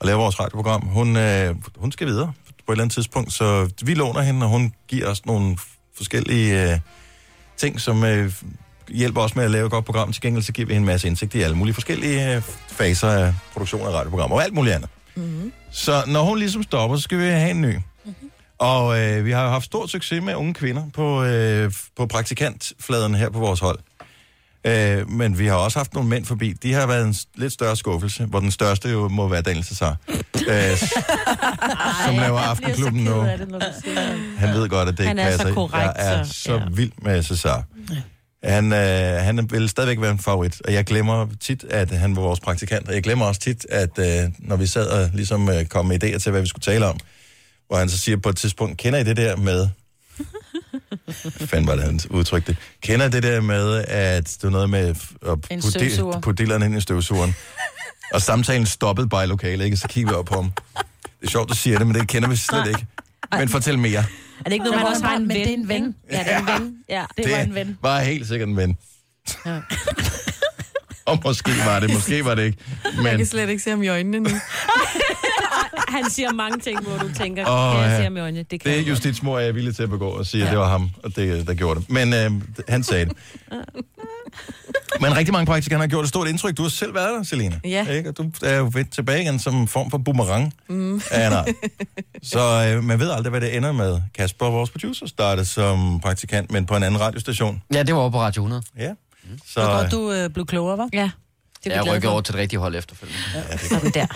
at lave vores radioprogram, hun, øh, hun skal videre på et eller andet tidspunkt, så vi låner hende, og hun giver os nogle forskellige øh, ting, som øh, hjælper os med at lave et godt program. Til gengæld så giver vi hende en masse indsigt i alle mulige forskellige øh, faser af produktion af radioprogrammer og alt muligt andet. Mm-hmm. Så når hun ligesom stopper, så skal vi have en ny. Mm-hmm. Og øh, vi har jo haft stor succes med unge kvinder på, øh, på praktikantfladen her på vores hold. Øh, men vi har også haft nogle mænd forbi. De har været en s- lidt større skuffelse, hvor den største jo må være Daniel Cesar, øh, s- som laver Aftenklubben nu. det, når du siger det. Han ved godt, at det Han ikke er så passer. korrekt, jeg er så- så ja. vild med Cesar. Han, øh, han vil stadigvæk være en favorit, og jeg glemmer tit, at han var vores praktikant, og jeg glemmer også tit, at øh, når vi sad og ligesom øh, kom med idéer til, hvad vi skulle tale om, hvor han så siger på et tidspunkt, kender I det der med... Hvad fanden var det, han udtrykte det? Kender I det der med, at det var noget med f- at En putte- støvsuger. putte dilleren ind i støvsugeren? og samtalen stoppede bare i lokalet, ikke? Så kiggede vi op på ham. Det er sjovt, du siger det, men det kender vi slet ikke. Men fortæl mere. Er det ikke noget, man også har en Men det er ven? en ven. Ja, det er en ven. Ja. Det, var en ven. var helt sikkert en ven. Ja. og måske var det, måske var det ikke. Jeg Men kan slet ikke se ham i øjnene nu. Han siger mange ting, hvor du tænker, Åh, oh, kan jeg ja. se ham i øjnene? Det kan det er jeg godt. justitsmor, jeg er villig til at begå og sige, ja. Ja. at det var ham, og det, der gjorde det. Men øh, han sagde det. Men rigtig mange praktikanter har gjort et stort indtryk. Du har selv været der, Selina. Ja. Ikke? Og du er jo vendt tilbage igen som en form for boomerang. Mm. Ja, nej. Så øh, man ved aldrig, hvad det ender med. Kasper, vores producer, startede som praktikant, men på en anden radiostation. Ja, det var over på Radio 100. Ja. Så, Det var godt, du øh, blev klogere, var. Ja, det er Jeg vi glade rykkede for. over til det rigtige hold efterfølgende. Sådan der.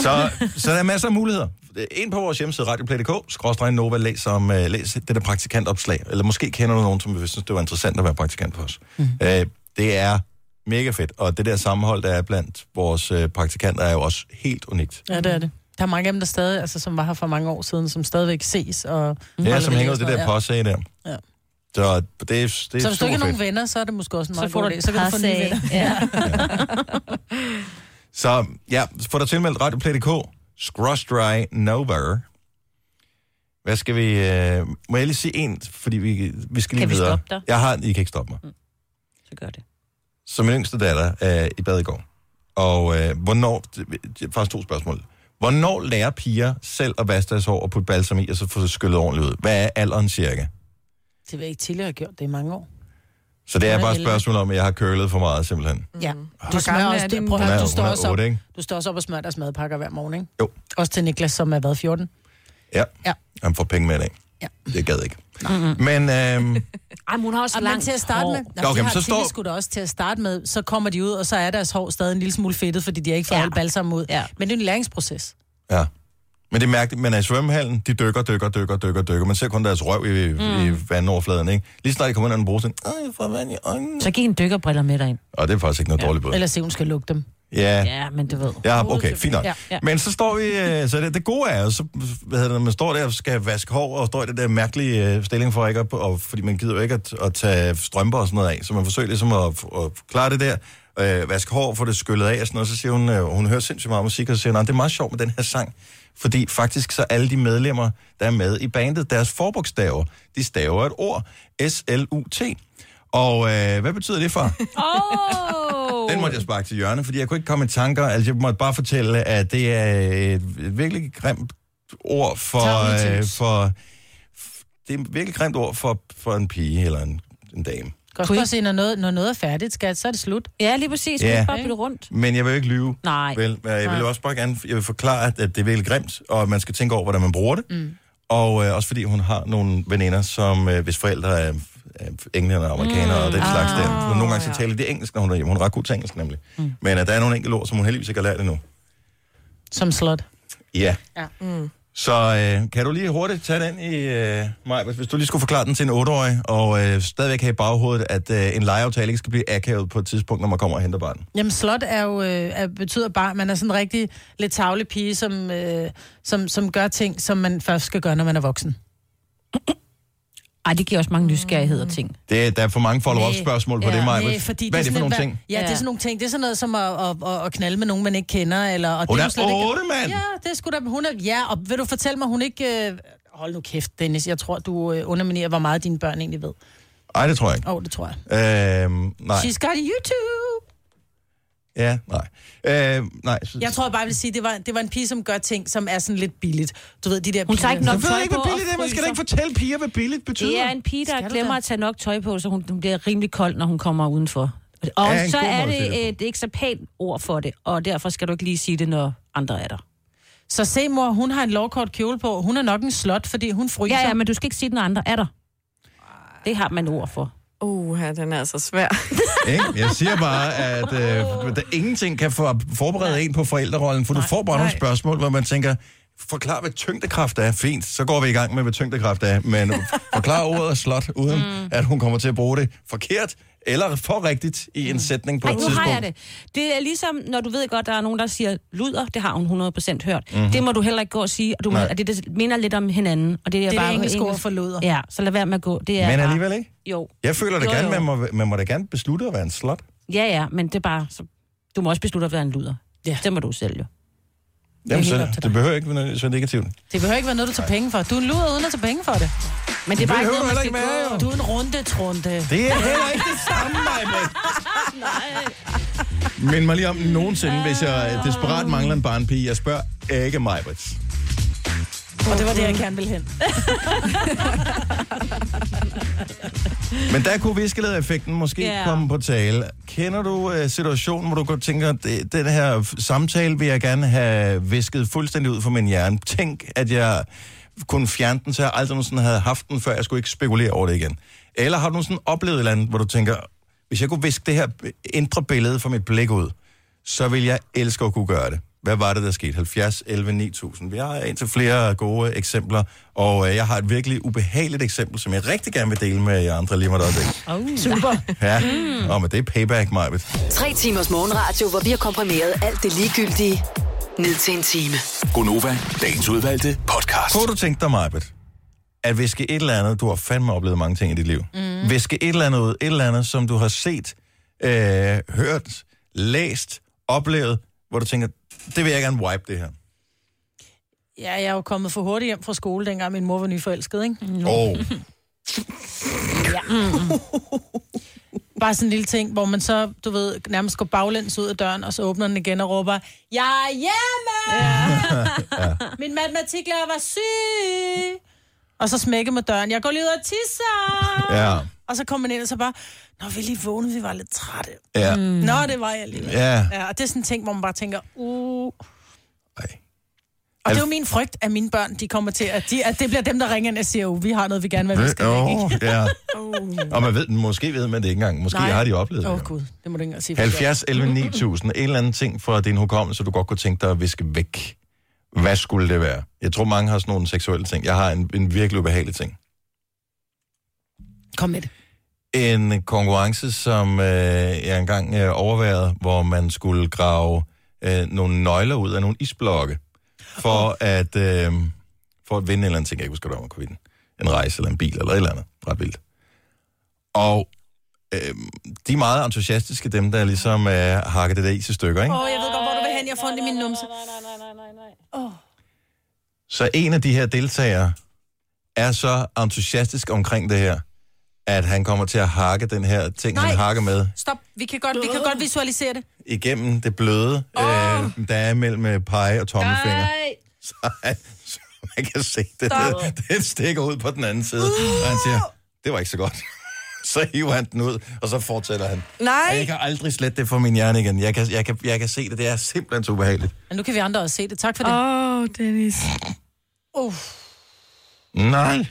Så, så der er masser af muligheder. Ind på vores hjemmeside, radioplay.dk, skråstregen Nova, læs, om, uh, læs det der praktikantopslag. Eller måske kender du nogen, som vil synes, det var interessant at være praktikant for os. Mm. Uh, det er mega fedt, og det der sammenhold, der er blandt vores uh, praktikanter, er jo også helt unikt. Ja, det er det. Der er mange af dem, der stadig, altså, som var her for mange år siden, som stadigvæk ses. Og Mm. Ja, holder som ved hænger ud og det sådan der noget, påsag der. Ja. Så det, det er, det er ja. Så hvis du super ikke har fedt. nogen venner, så er det måske også en Så meget får god du idé. et Så kan par du få nye venner. sag. Ja. Så ja, få dig tilmeldt radioplay.dk, skråstreg Nova. Hvad skal vi... Øh, må jeg lige sige en, fordi vi, vi skal lige Kan vi videre. stoppe dig? Jeg har, I kan ikke stoppe mig. Så gør det. Så min yngste datter er i bad i går. Og øh, hvornår... Det, det er faktisk to spørgsmål. Hvornår lærer piger selv at vaske deres hår og putte balsam i, og så få det skyllet ordentligt ud? Hvad er alderen cirka? Det vil jeg ikke tidligere have gjort, det er mange år. Så det er Hun er bare et elleve. spørgsmål om, at jeg har kølet for meget, simpelthen. Ja. Mm. Hvor Du gammel smører er også, din- det, prøv at Hun høre, er, du hun står, er også op, otte, ikke? du står også op og smører deres madpakker hver morgen, ikke? Jo. Også til Niklas, som er været 14. Ja. Ja. Han får penge med i dag. Ja. Det gad jeg ikke. Men... Øh, Ej, men hun har også Og men langt til at starte med, Nå, okay, Okay, de men har så så står- står... også til at starte med, så kommer de ud, og så er deres hår stadig en lille smule fedtet, fordi de har ikke fået Ja. ja. alt balsam ud. Ja. Men det er en læringsproces. Ja. Men det er mærkeligt, man er i svømmehallen, de dykker, dykker, dykker, dykker, dykker. Man ser kun deres røv i, mm. i vandoverfladen, ikke? Lige snart de kommer ind og bruger sådan, Åh, jeg får vand i øjnene. Så giv en dykkerbriller med dig ind. Og det er faktisk ikke noget ja. dårligt bud. Ellers se, hun skal lukke dem. Ja. Ja, men du ved. Ja, okay, fint nok. Ja, Ja, ja. ja. Men så står vi, øh, så det, det gode er jo, så, hvad hedder det, når man står der og skal vaske hår, og står i det der mærkelige øh, stilling for ikke at, og, fordi man gider jo ikke at, at tage strømper og sådan noget af, så man forsøger ligesom at, at klare det der, øh, vaske hår, få det skyllet af og sådan noget, så siger hun, øh, hun hører sindssygt meget musik, og så siger hun, "Nå, det er meget sjovt med den her sang, fordi faktisk så alle de medlemmer, der er med i bandet, deres forbogstaver, de staver et ord, S-L-U-T. Og øh, hvad betyder det for? Åh! Oh, Den måtte jeg sparke til hjørne, fordi jeg kunne ikke komme i tanker. Altså, jeg måtte bare fortælle, at det er et et virkelig grimt ord for... Øh, Tavletingens. for f- det er et virkelig grimt ord for, for en pige eller en, en dame. Godt for at se, når noget, når noget er færdigt, skat, så er det slut. Ja, lige præcis. Vi Ja. kan bare bytte rundt. Men jeg vil jo ikke lyve. Nej. Vel, men jeg vil Nej. jo også bare gerne jeg vil forklare, at at det er virkelig grimt, og at man skal tænke over, hvordan man bruger det. Mm. Og øh, også fordi hun har nogle veninder, som øh, hvis forældre er, er englænder og amerikanere mm. og den slags Ah. der. Hun nogle gange så taler de engelsk, når hun er hjemme. Hun er ret god til engelsk nemlig. Mm. Men at der er nogle enkelte ord, som hun heldigvis ikke har lært endnu. Som slot. Ja. Ja. Mm. Så øh, kan du lige hurtigt tage den i øh, mig, hvis du lige skulle forklare den til en 8-årig, og øh, stadigvæk have i baghovedet, at øh, en legeaftale ikke skal blive akavet på et tidspunkt, når man kommer og henter barnet. Jamen, slot er jo, øh, er, betyder bare, at man er sådan en rigtig lidt tavlig pige, som, øh, som, som gør ting, som man først skal gøre, når man er voksen. Ej, det giver også mange nysgerrigheder og ting. Det, der er for mange follow-up Nej. spørgsmål på det, Maja. nej, fordi Hvad er det for sådan nogle lidt, ting? Ja, det er sådan nogle ting. Det er sådan noget som at, at, at, at knalde med nogen, man ikke kender. Eller, og Hun det er jo slet ikke- otte, mand! Ja, det skulle da... Hun er, ja, og vil du fortælle mig, hun ikke... Øh, hold nu kæft, Dennis. Jeg tror, du øh, underminerer, hvor meget dine børn egentlig ved. Ej, det tror jeg ikke. Åh, oh, det tror jeg. Øhm, nej. She's got YouTube! Ja, nej. Øh, nej. så- Jeg tror jeg bare, jeg vil sige, det var, det var en pige, som gør ting, som er sådan lidt billigt. Du ved, de der Hun tager ikke nok Jeg ved tøj ikke, på hvad billigt og er. Man skal da fryser. ikke fortælle piger, hvad billigt betyder. Det er en pige, der Skal du glemmer da? at tage nok tøj på, så hun, hun bliver rimelig kold, når hun kommer udenfor. Og Ja, en så god måde er at se det på. det et ikke så pænt ord for det, og derfor skal du ikke lige sige det, når andre er der. Så se, mor, hun har en lovkort kjole på. Hun er nok en slot, fordi hun fryser. Ja, ja, men du skal ikke sige det, når andre er der. Det har man ord for. Uh, den er altså svær. Ikke? Jeg siger bare, at øh, der ingenting kan for, forberede en på forældrerollen, for du får bare nogle spørgsmål, hvor man tænker, forklar hvad tyngdekraft er. Fint, så går vi i gang med, hvad tyngdekraft er. Men forklar ordet slot, uden mm. at hun kommer til at bruge det forkert eller for rigtigt i en sætning på Mm. Ej, et nu tidspunkt. har jeg det. Det er ligesom, når du ved godt, der er nogen, der siger luder, det har hun 100% hørt. Mhm. Mm-hmm. Det må du heller ikke gå og sige, og, du må, Nej. og det, det minder lidt om hinanden. Og det, er Det er bare det engelske ord for luder. Ja, så lad være med at gå. Det er Men bare- alligevel ikke? Jo. Jeg føler da Jo, gerne, jo. man må, man må da gerne beslutte at være en slot. Ja, ja, men det er bare... Så, du må også beslutte at være en luder. Ja. Det må du selv jo. Jamen, helt så, op til det behøver ikke være nødvendigvis være negativt. Det behøver ikke være noget, du tager penge for. Du er en luder uden at tage penge for det. Men det er bare Det ikke behøver noget, man skal du heller ikke gå. Du er en runde trunde. Det er heller ikke det samme, Maja. Mind mig lige om nogensinde, hvis jeg desperat mangler en barnpige. Jeg spørger ikke mig, Og det var det, jeg gerne ville hen. Men der kunne viskeledereffekten måske Ja. yeah. komme på tale. Kender du uh, situationen, hvor du godt tænker, "Det- den her f- samtale vil jeg gerne have visket fuldstændig ud fra min hjerne. Tænk, at jeg kunne fjerne den, så jeg aldrig nogensinde havde haft den, før jeg skulle ikke spekulere over det igen. Eller har du nogensinde oplevet et eller andet, hvor du tænker, hvis jeg kunne viske det her øh, indre billede fra mit blik ud, så vil jeg elske at kunne gøre det. Hvad var det, der skete? 70, 11, 9000. Vi har indtil flere gode eksempler, og øh, jeg har et virkelig ubehageligt eksempel, som jeg rigtig gerne vil dele med jer andre lige om et øjeblik. Oh. Super. Ja, mm. og men det er payback, Majbet. Tre timers morgenradio, hvor vi har komprimeret alt det ligegyldige ned til en time. Gonova, dagens udvalgte podcast. Kunne du tænke dig, Majbet, at viske et eller andet, du har fandme oplevet mange ting i dit liv, mm. viske et eller andet ud, et eller andet, som du har set, øh, hørt, læst, oplevet, hvor du tænker, det vil jeg gerne wipe det her. Ja, jeg er jo kommet for hurtigt hjem fra skole, dengang min mor var nyforelsket, ikke? Åh, oh, Bare sådan en lille ting, hvor man så, du ved, nærmest går baglæns ud af døren, og så åbner den igen og råber, Jeg er hjemme! Ja. Min matematiklærer var syg! Og så smækker med døren, jeg går lige ud og tisser! ja. Og så kommer man ind og så bare, Nå, vi er lige vågnede, vi var lidt trætte. Ja. Mm. Nå, det var jeg lige. Ja. ja. Og det er sådan en ting, hvor man bare tænker, uh... Og det er jo min frygt, at mine børn, de kommer til, at, de, at det bliver dem, der ringer ind og siger, oh, vi har noget, vi gerne vil have, vi skal Åh, ikke? ja. Oh. Og man ved, måske ved man det ikke engang. Måske Nej. har de oplevet Åh, det. oh, Gud, det må du ikke engang sige. 70, 11, 9000. En eller anden ting fra din hukommelse, du godt kunne tænke dig at viske væk. Hvad skulle det være? Jeg tror, mange har sådan nogle seksuelle ting. Jeg har en, en virkelig ubehagelig ting. Kom med det. En konkurrence, som øh, jeg engang øh, overvejede, hvor man skulle grave øh, nogle nøgler ud af nogle isblokke, for, oh. at, øh, for at vinde en eller anden ting. Jeg kan ikke huske, hvad det var, man kunne vinde. En rejse eller en bil eller et eller andet. Ret vildt. Og øh, de er meget entusiastiske, dem der ligesom øh, hakker det der is i stykker, ikke? Åh, oh, jeg ved godt, hvor du vil hen, jeg får ondt i min numse. Åh. Så en af de her deltagere er så entusiastisk omkring det her, at han kommer til at hakke den her ting, Nej. han hakker med, Stop. Vi kan godt, vi kan godt visualisere det. igennem det bløde, oh. øh, der er mellem øh, pege og tommelfinger. Så, han- så man kan se, det, Stop. det, det stikker ud på den anden side. Uh. Og han siger, det var ikke så godt. Så hiver han den ud, og så fortsætter han. Nej. Og jeg kan aldrig slette det fra min hjerne igen. Jeg kan, jeg kan, jeg kan se det. Det er simpelthen så ubehageligt. Men nu kan vi andre også se det. Tak for det. Åh, oh, Dennis. Uh. Nej.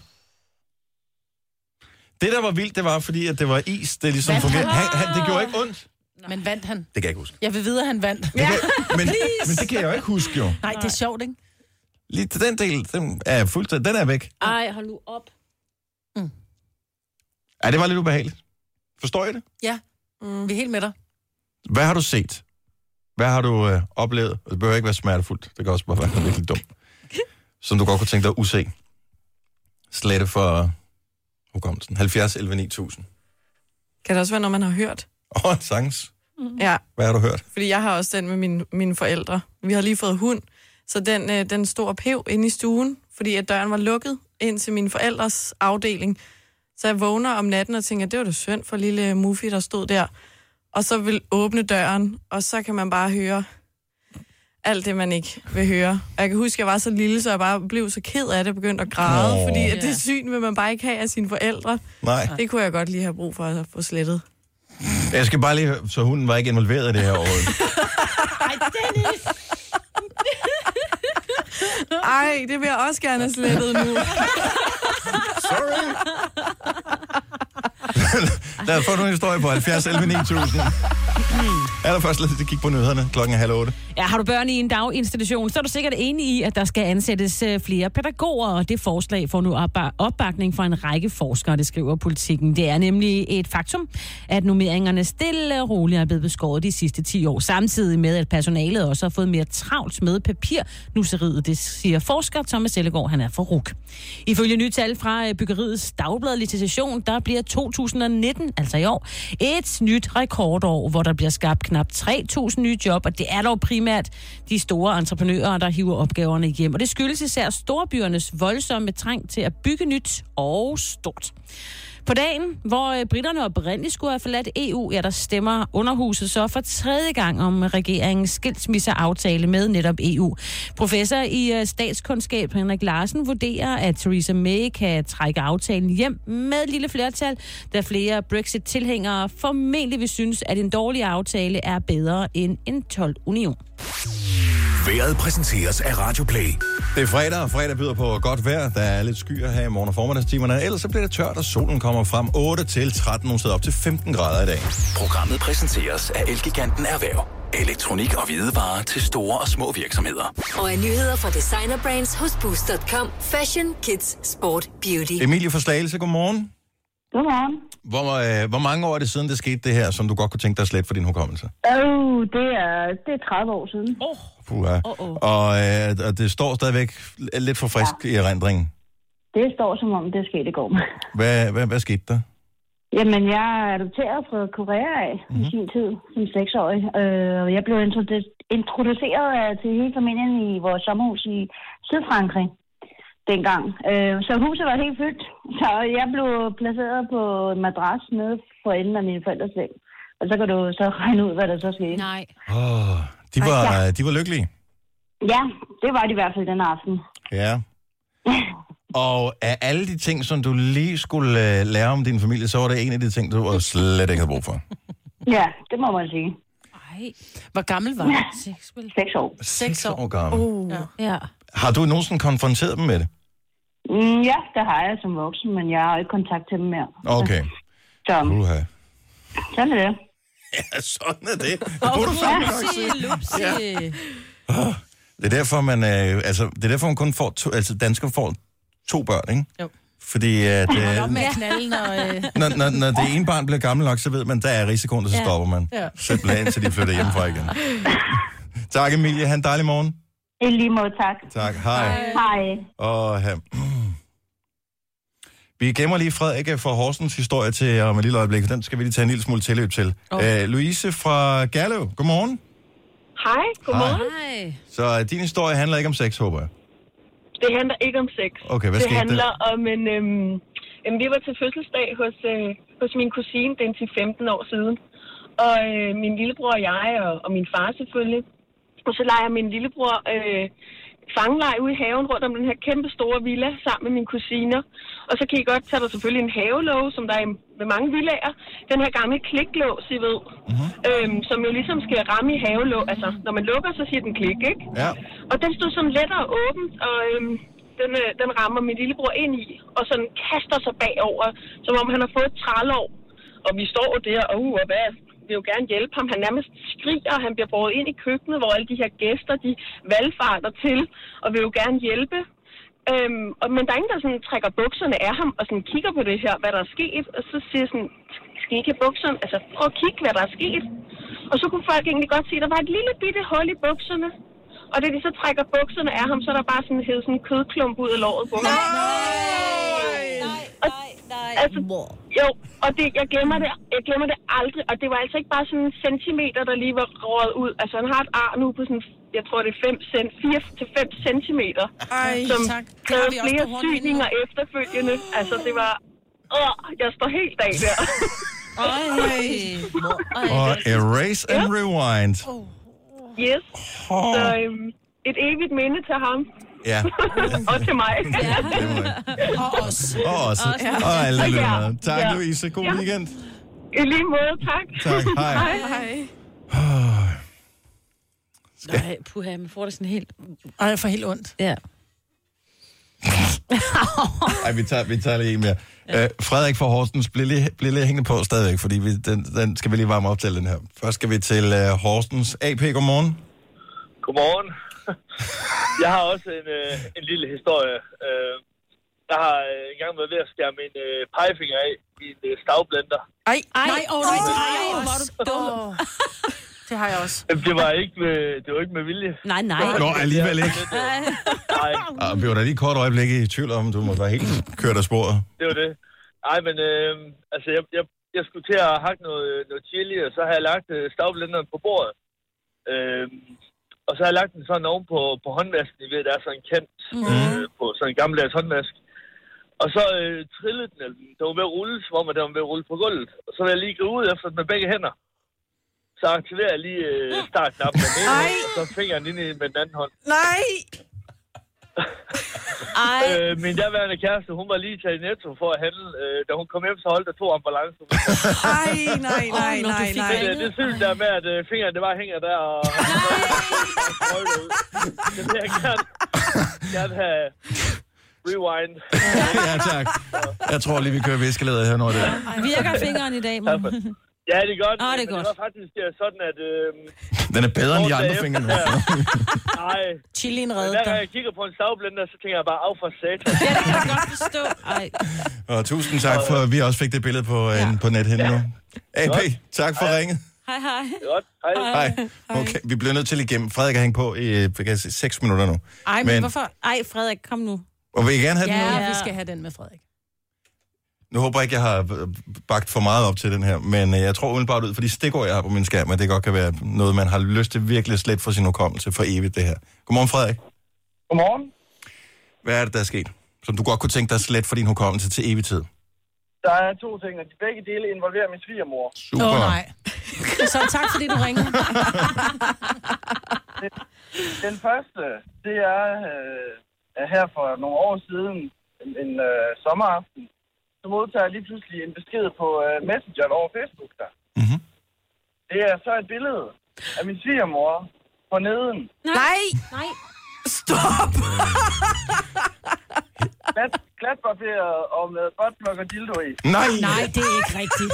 Det, der var vildt, det var, fordi at det var is. Det, ligesom Vandt fungerede. han? Han, han, det gjorde ikke ondt. Men vandt han? Det kan jeg ikke huske. Jeg vil vide, at han vandt. Ja. Men, men det kan jeg jo ikke huske, jo. Nej, det er sjovt, ikke? Lige til den del, den er fuldstændig, den er væk. Ej, hold nu op. Ja, det var lidt ubehageligt. Forstår I det? Ja. Mm. Vi er helt med dig. Hvad har du set? Hvad har du øh, oplevet? Det behøver ikke være smertefuldt. Det kan også bare være noget virkelig dumt. Som du godt kunne tænke dig at use. Slette for hukommelsen. 70 11 9000. Kan det også være, når man har hørt? Åh, oh, sangs. Ja, Hvad har du hørt? fordi jeg har også den med mine, mine forældre. Vi har lige fået hund, så den, øh, den stod og pev inde i stuen, fordi at døren var lukket ind til mine forældres afdeling. Så jeg vågner om natten og tænker, det var da synd for lille Muffy, der stod der. Og så vil åbne døren, og så kan man bare høre alt det, man ikke vil høre. Og jeg kan huske, at jeg var så lille, så jeg bare blev så ked af det, begyndte at græde, Åh. oh. fordi at Ja. det syn vil man bare ikke have af sine forældre. Nej. Det kunne jeg godt lige have brug for at få slettet. Jeg skal bare lige høre, så hunden var ikke involveret i det her år. Ej, det vil jeg også gerne have slettet nu. Sorry. Lad os få nogle historie på 70 11 9000. Mm. Allerførst lad os lige kigge på nyhederne klokken er halv otte. Ja, har du børn i en daginstitution, så er du sikkert enig i, at der skal ansættes øh, flere pædagoger, og det forslag får nu opba- opbakning fra en række forskere, det skriver politikken. Det er nemlig et faktum, at nummeringerne stille og roligt er blevet beskåret de sidste 10 år, samtidig med, at personalet også har fået mere travlt med papirnusseriet, det siger forsker Thomas Ellegaard, han er for RUK. Ifølge nye tal fra øh, byggeriets dagblad Licitation, der bliver 2019, altså i år, et nyt rekordår, hvor der bliver skabt knap 3.000 nye job, og det er dog primært de store entreprenører, der hiver opgaverne hjem. Og det skyldes især storbyernes voldsomme trang til at bygge nyt og stort. På dagen, hvor øh, britterne oprindeligt skulle have forladt EU, ja, der stemmer underhuset så for tredje gang om regeringens skilsmisseaftale med netop EU. Professor i øh, statskundskab Henrik Larsen vurderer, at Theresa May kan trække aftalen hjem med et lille flertal, da flere Brexit-tilhængere formentlig vil synes, at en dårlig aftale er bedre end en 12-union. Været præsenteres af Radio Play. Det er fredag, og fredag byder på godt vejr. Der er lidt skyer her i morgen og formiddagstimerne. Ellers så bliver det tørt, og solen kommer frem 8 til 13, nogle steder op til 15 grader i dag. Programmet præsenteres af Elgiganten Erhverv. Elektronik og hvidevarer til store og små virksomheder. Og er nyheder fra designer brands hos Boost.com. Fashion, kids, sport, beauty. Emilie fra Slagelse, godmorgen. Godmorgen. Hvor, øh, hvor mange år er det siden, det skete det her, som du godt kunne tænke dig slet for din hukommelse? Åh, det er, det er 30 år siden. Oh. Puha. Uh-oh. Og, øh, og det står stadigvæk lidt for frisk ja. i erindringen. Det står som om, det skete i går. Hvad, hvad, hvad skete der? Jamen, jeg er adopteret fra Korea af mm-hmm. i sin tid, som seksårig. Øh, og jeg blev introdu- introduceret øh, til hele familien i vores sommerhus i Sydfrankrig dengang. Øh, så huset var helt fyldt, så jeg blev placeret på en madras nede for enden af mine forældres seng. Og så kan du så regne ud, hvad der så skete. Nej. Oh, de, var, de var lykkelige. Ja, det var det i hvert fald den aften. Ja. Og af alle de ting, som du lige skulle øh, lære om din familie, så var det en af de ting, du øh, slet ikke havde brug for. Ja, det må man sige. Ej, Hvor gammel var han? seks vel? Seks år. Seks år. år gammel. Uh. Ja. Har du nogensinde konfronteret dem med det? Mm, ja, det har jeg som voksen, men jeg har ikke kontakt til dem mere. Okay. Så Uha. sådan er det. Ja, sådan er det. Det burde du fandme nok sige. Ah, Lupsi. Ja. Det er derfor, man, øh, altså, det er derfor, man kun får to, altså danskere får to børn, ikke? Jo. Fordi at, øh, Op med knalden og... Øh, når, når, når det ene barn bliver gammel nok, så ved man, der er risikoen, og så Ja. stopper man. Ja. Simpelthen, til de flytter hjemmefra igen. tak, Emilie. Ha' en dejlig morgen. I lige måde, tak. Tak. Hej. Hej. Hej. Og her. Vi gemmer lige Frederik fra Horsens historie til om et lille øjeblik, for den skal vi lige tage en lille smule tilløb til. Okay. Øh, Louise fra Gerlev, godmorgen. Hej, godmorgen. Ej. Så øh, din historie handler ikke om sex, håber jeg. Det handler ikke om sex. Okay, hvad det skete der? handler om en, øhm, Jamen, vi var til fødselsdag hos, øh, hos min kusine, den til 15 år siden. Og øh, min lillebror og jeg, og, og min far selvfølgelig. Og så leger min lillebror øh, fangeleg ude i haven rundt om den her kæmpe store villa sammen med mine kusiner. Og så kan I godt tage der selvfølgelig en havelåge, som der er i- ved mange villager. Den her gamle kliklås, I ved, mm-hmm. øhm, som jo ligesom skal ramme i havelåg. Altså, når man lukker, så siger den klik, ikke? Ja. Og den stod sådan lettere åben, og øhm, den, øh, den rammer min lillebror ind i, og sådan kaster sig bagover, som om han har fået et trælov. Og vi står jo der, og uh, og hvad, vil jo gerne hjælpe ham. Han nærmest skriger, og han bliver båret ind i køkkenet, hvor alle de her gæster, de valgfarter til, og vil jo gerne hjælpe. Øhm, og, men der er ingen, der sådan trækker bukserne af ham, og sådan kigger på det her, hvad der er sket, og så siger sådan, skal I ikke have bukserne? Altså, prøv at kigge, hvad der er sket. Og så kunne folk egentlig godt se, at der var et lille bitte hul i bukserne. Og da de så trækker bukserne af ham, så er der bare sådan hævet sådan en kødklump ud af låret på ham. Nej! Nej, nej, altså, jo, og det, jeg, glemmer det, jeg glemmer det aldrig, og det var altså ikke bare sådan en centimeter, der lige var rådet ud. Altså, han har et ar nu på sådan, jeg tror det er 5 cent, 4 til 5 centimeter. Ej, som tak. Det har kræver vi også flere på hornhinden. syninger efterfølgende. Altså, det var... Åh, jeg står helt af der. Ej. Og erase and rewind. Yes. Åh. Så øhm, et evigt minde til ham. Ja. og til mig. Ja. Og os. Og også. Ja. Og alle Og jer. lytterne. Tak, Ja. Louise. God Ja. weekend. I lige måde, tak. Tak, hej. hej. Nej, puha, man får det sådan helt... Og jeg får helt ondt. Ja. Ej, vi tager, vi tager lige en mere. Øh, Frederik fra Horsens, bliver lige, bliver lige hængende på stadigvæk, fordi vi, den, den skal vi lige varme op til, den her. Først skal vi til øh, Horsens. AP, godmorgen. Godmorgen. Jeg har også en, øh, en lille historie. Øh, jeg har øh, engang været ved at skære min øh, pegefinger af i en øh, stavblender. Ej, ej, nej, åh, nej, nej, åh, hvor er du dum. Det har jeg også. Jamen, Det var ikke med, det var ikke med vilje. Nej, nej. Nå, alligevel ikke. Nej, Ah, vi var da lige et kort øjeblik i tvivl om, du må være helt kørt af sporet. det var det. Nej, men øh, altså, jeg, jeg, jeg skulle til at hakke noget, øh, noget chili, og så har jeg lagt øh, stavblenderen på bordet. Øh, og så har jeg lagt den sådan oven på, på håndvasken, I ved, der er sådan en kant øh, på sådan en gammeldags håndvask. Og så øh, trillede den, eller den den var ved at rulle, som om at den var ved at rulle på gulvet. Og så vil jeg lige gå ud efter den med begge hænder. Så aktiverer jeg lige øh, startknappen med den ene hånd, og så fingeren ind i med den anden hånd. Nej! Ej. Øh, min derværende kæreste, hun var lige taget i Netto for at handle. Øh, da hun kom hjem, så holdt der to ambulancer. Ej, nej, nej, Åh, når nej, du fik nej. Det, det synes der med, at øh, fingeren det bare hænger der. Og... det vil jeg gerne, gerne have rewind. Ja, tak. Jeg tror lige, vi kører viskeleder her, når det er. Virker fingeren i dag, morgen? Ja, det er godt. Åh, det er men godt. Det var faktisk øh, sådan, at... Øh, Den er bedre end de kort andre derefter- fingre. Nej. Chilien redder Hver gang jeg kigger på en stavblender, så tænker jeg bare, af for satan. Ja, det kan jeg godt forstå. Ej. Og tusind tak for, at vi også fik det billede på, ja. på nethinden nu. AP, tak for ringet. Hej, hej. Godt. Hej. Hej. Okay, vi bliver nødt til lige igennem. Frederik har hængt på i øh, jeg kan se, 6 minutter nu. Ej, men, men hvorfor? Ej, Frederik, kom nu. Og vil I gerne have den nu? Ja, vi skal have den med Frederik. Nu håber jeg ikke, jeg har øh, bagt for meget op til den her, men øh, jeg tror udenbart ud for de stikord, jeg har på min skærm, at det godt kan være noget, man har lyst til virkelig slet for sin hukommelse for evigt, det her. Godmorgen, Frederik. Godmorgen. Hvad er det, der er sket, som du godt kunne tænke dig slet for din hukommelse til evig tid? Der er to ting, og de begge dele involverer min svigermor. Super. Åh, nej. Så tak, fordi du ringede. Den første, det er øh, er her for nogle år siden, en, en øh, sommeraften, så modtager jeg lige pludselig en besked på øh, Messenger over Facebook der. Mm-hmm. Mhm. Det er så et billede af min svigermor på neden. Nej! Nej. Stop! Glat, glatbarberet og med botmok og dildo i. Nej! Nej, det er ikke rigtigt.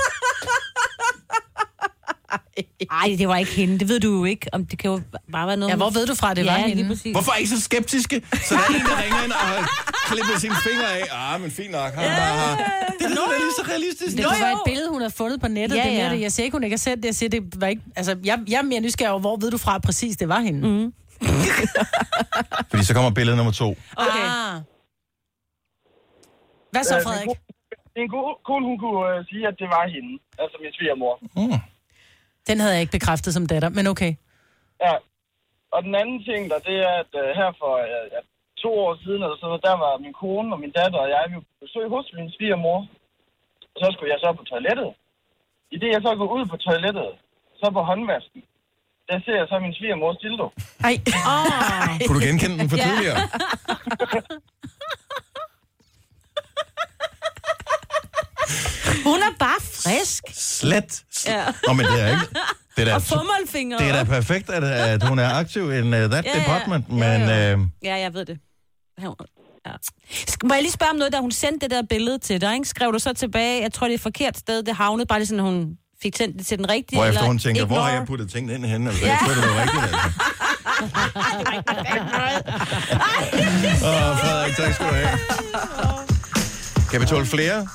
Nej, det var ikke hende. Det ved du jo ikke. Om det kan jo bare være noget... Ja, hvor ved du fra, det var ja, hende? Lige præcis. Hvorfor er I så skeptiske? Så der er en, der ringer ind og har klippet sine fingre af. Ah, men fint nok. Han bare... Det lyder da lige så realistisk. Det kunne være et billede, hun har fundet på nettet. Ja, Ja, ja. Det er ja. mere det. Jeg siger ikke, hun ikke har sendt det. Jeg siger, det var ikke... Altså, jeg, jeg er mere nysgerrig over, hvor ved du fra præcis, det var hende. Mm. Fordi så kommer billede nummer to. Okay. Ah. Hvad så, Øh, min Frederik? ko- Min ko- kone, hun kunne øh, sige, at det var hende, altså min svigermor. Mm. Den havde jeg ikke bekræftet som datter, men okay. Ja. Og den anden ting, der det er, at øh, her for øh, ja, to år siden, eller sådan noget, der var min kone og min datter og jeg, vi var på besøg hos min svigermor. Og så skulle jeg så på toilettet. I det, jeg så går ud på toilettet, så på håndvasken, der ser jeg så min svigermors dildo. Ej. Oh. Kunne du genkende den fra tidligere? Hun er bare frisk. Slet. Ja. Nå, men det er ikke... Det er da, Og fummelfingre. det er da perfekt, at, at hun er aktiv in uh, that Ja, ja. department, men... Uh, Ja, jeg ved det. Ja. Sk- Må jeg lige spørge om noget, da hun sendte det der billede til dig? Ikke? Skrev du så tilbage, jeg tror, det er et forkert sted, det havnede, bare lige sådan, hun fik sendt det til den rigtige? hvor efter eller hun tænker, hvor har ignore? jeg puttet tingene ind henne? Altså, jeg tror, det var rigtigt. Altså. Åh, Frederik, tak skal du have. Kan vi tåle flere?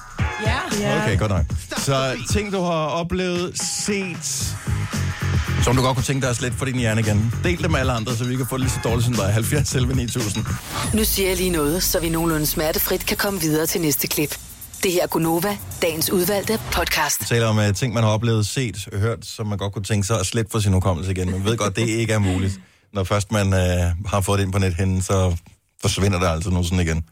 Ja. Okay, godt nok. Så ting, du har oplevet, set, som du godt kunne tænke dig at slette for din hjerne igen. Del det med alle andre, så vi kan få det lige så dårligt som dig. 70 selv 9000. Nu siger jeg lige noget, så vi nogenlunde smertefrit kan komme videre til næste klip. Det her er Gunova, dagens udvalgte podcast. Vi taler om uh, ting, man har oplevet, set, hørt, som man godt kunne tænke sig at slette for sin hukommelse igen. Man ved godt, det ikke er muligt. Når først man uh, har fået det ind på nethinden, så forsvinder det altså nu sådan igen.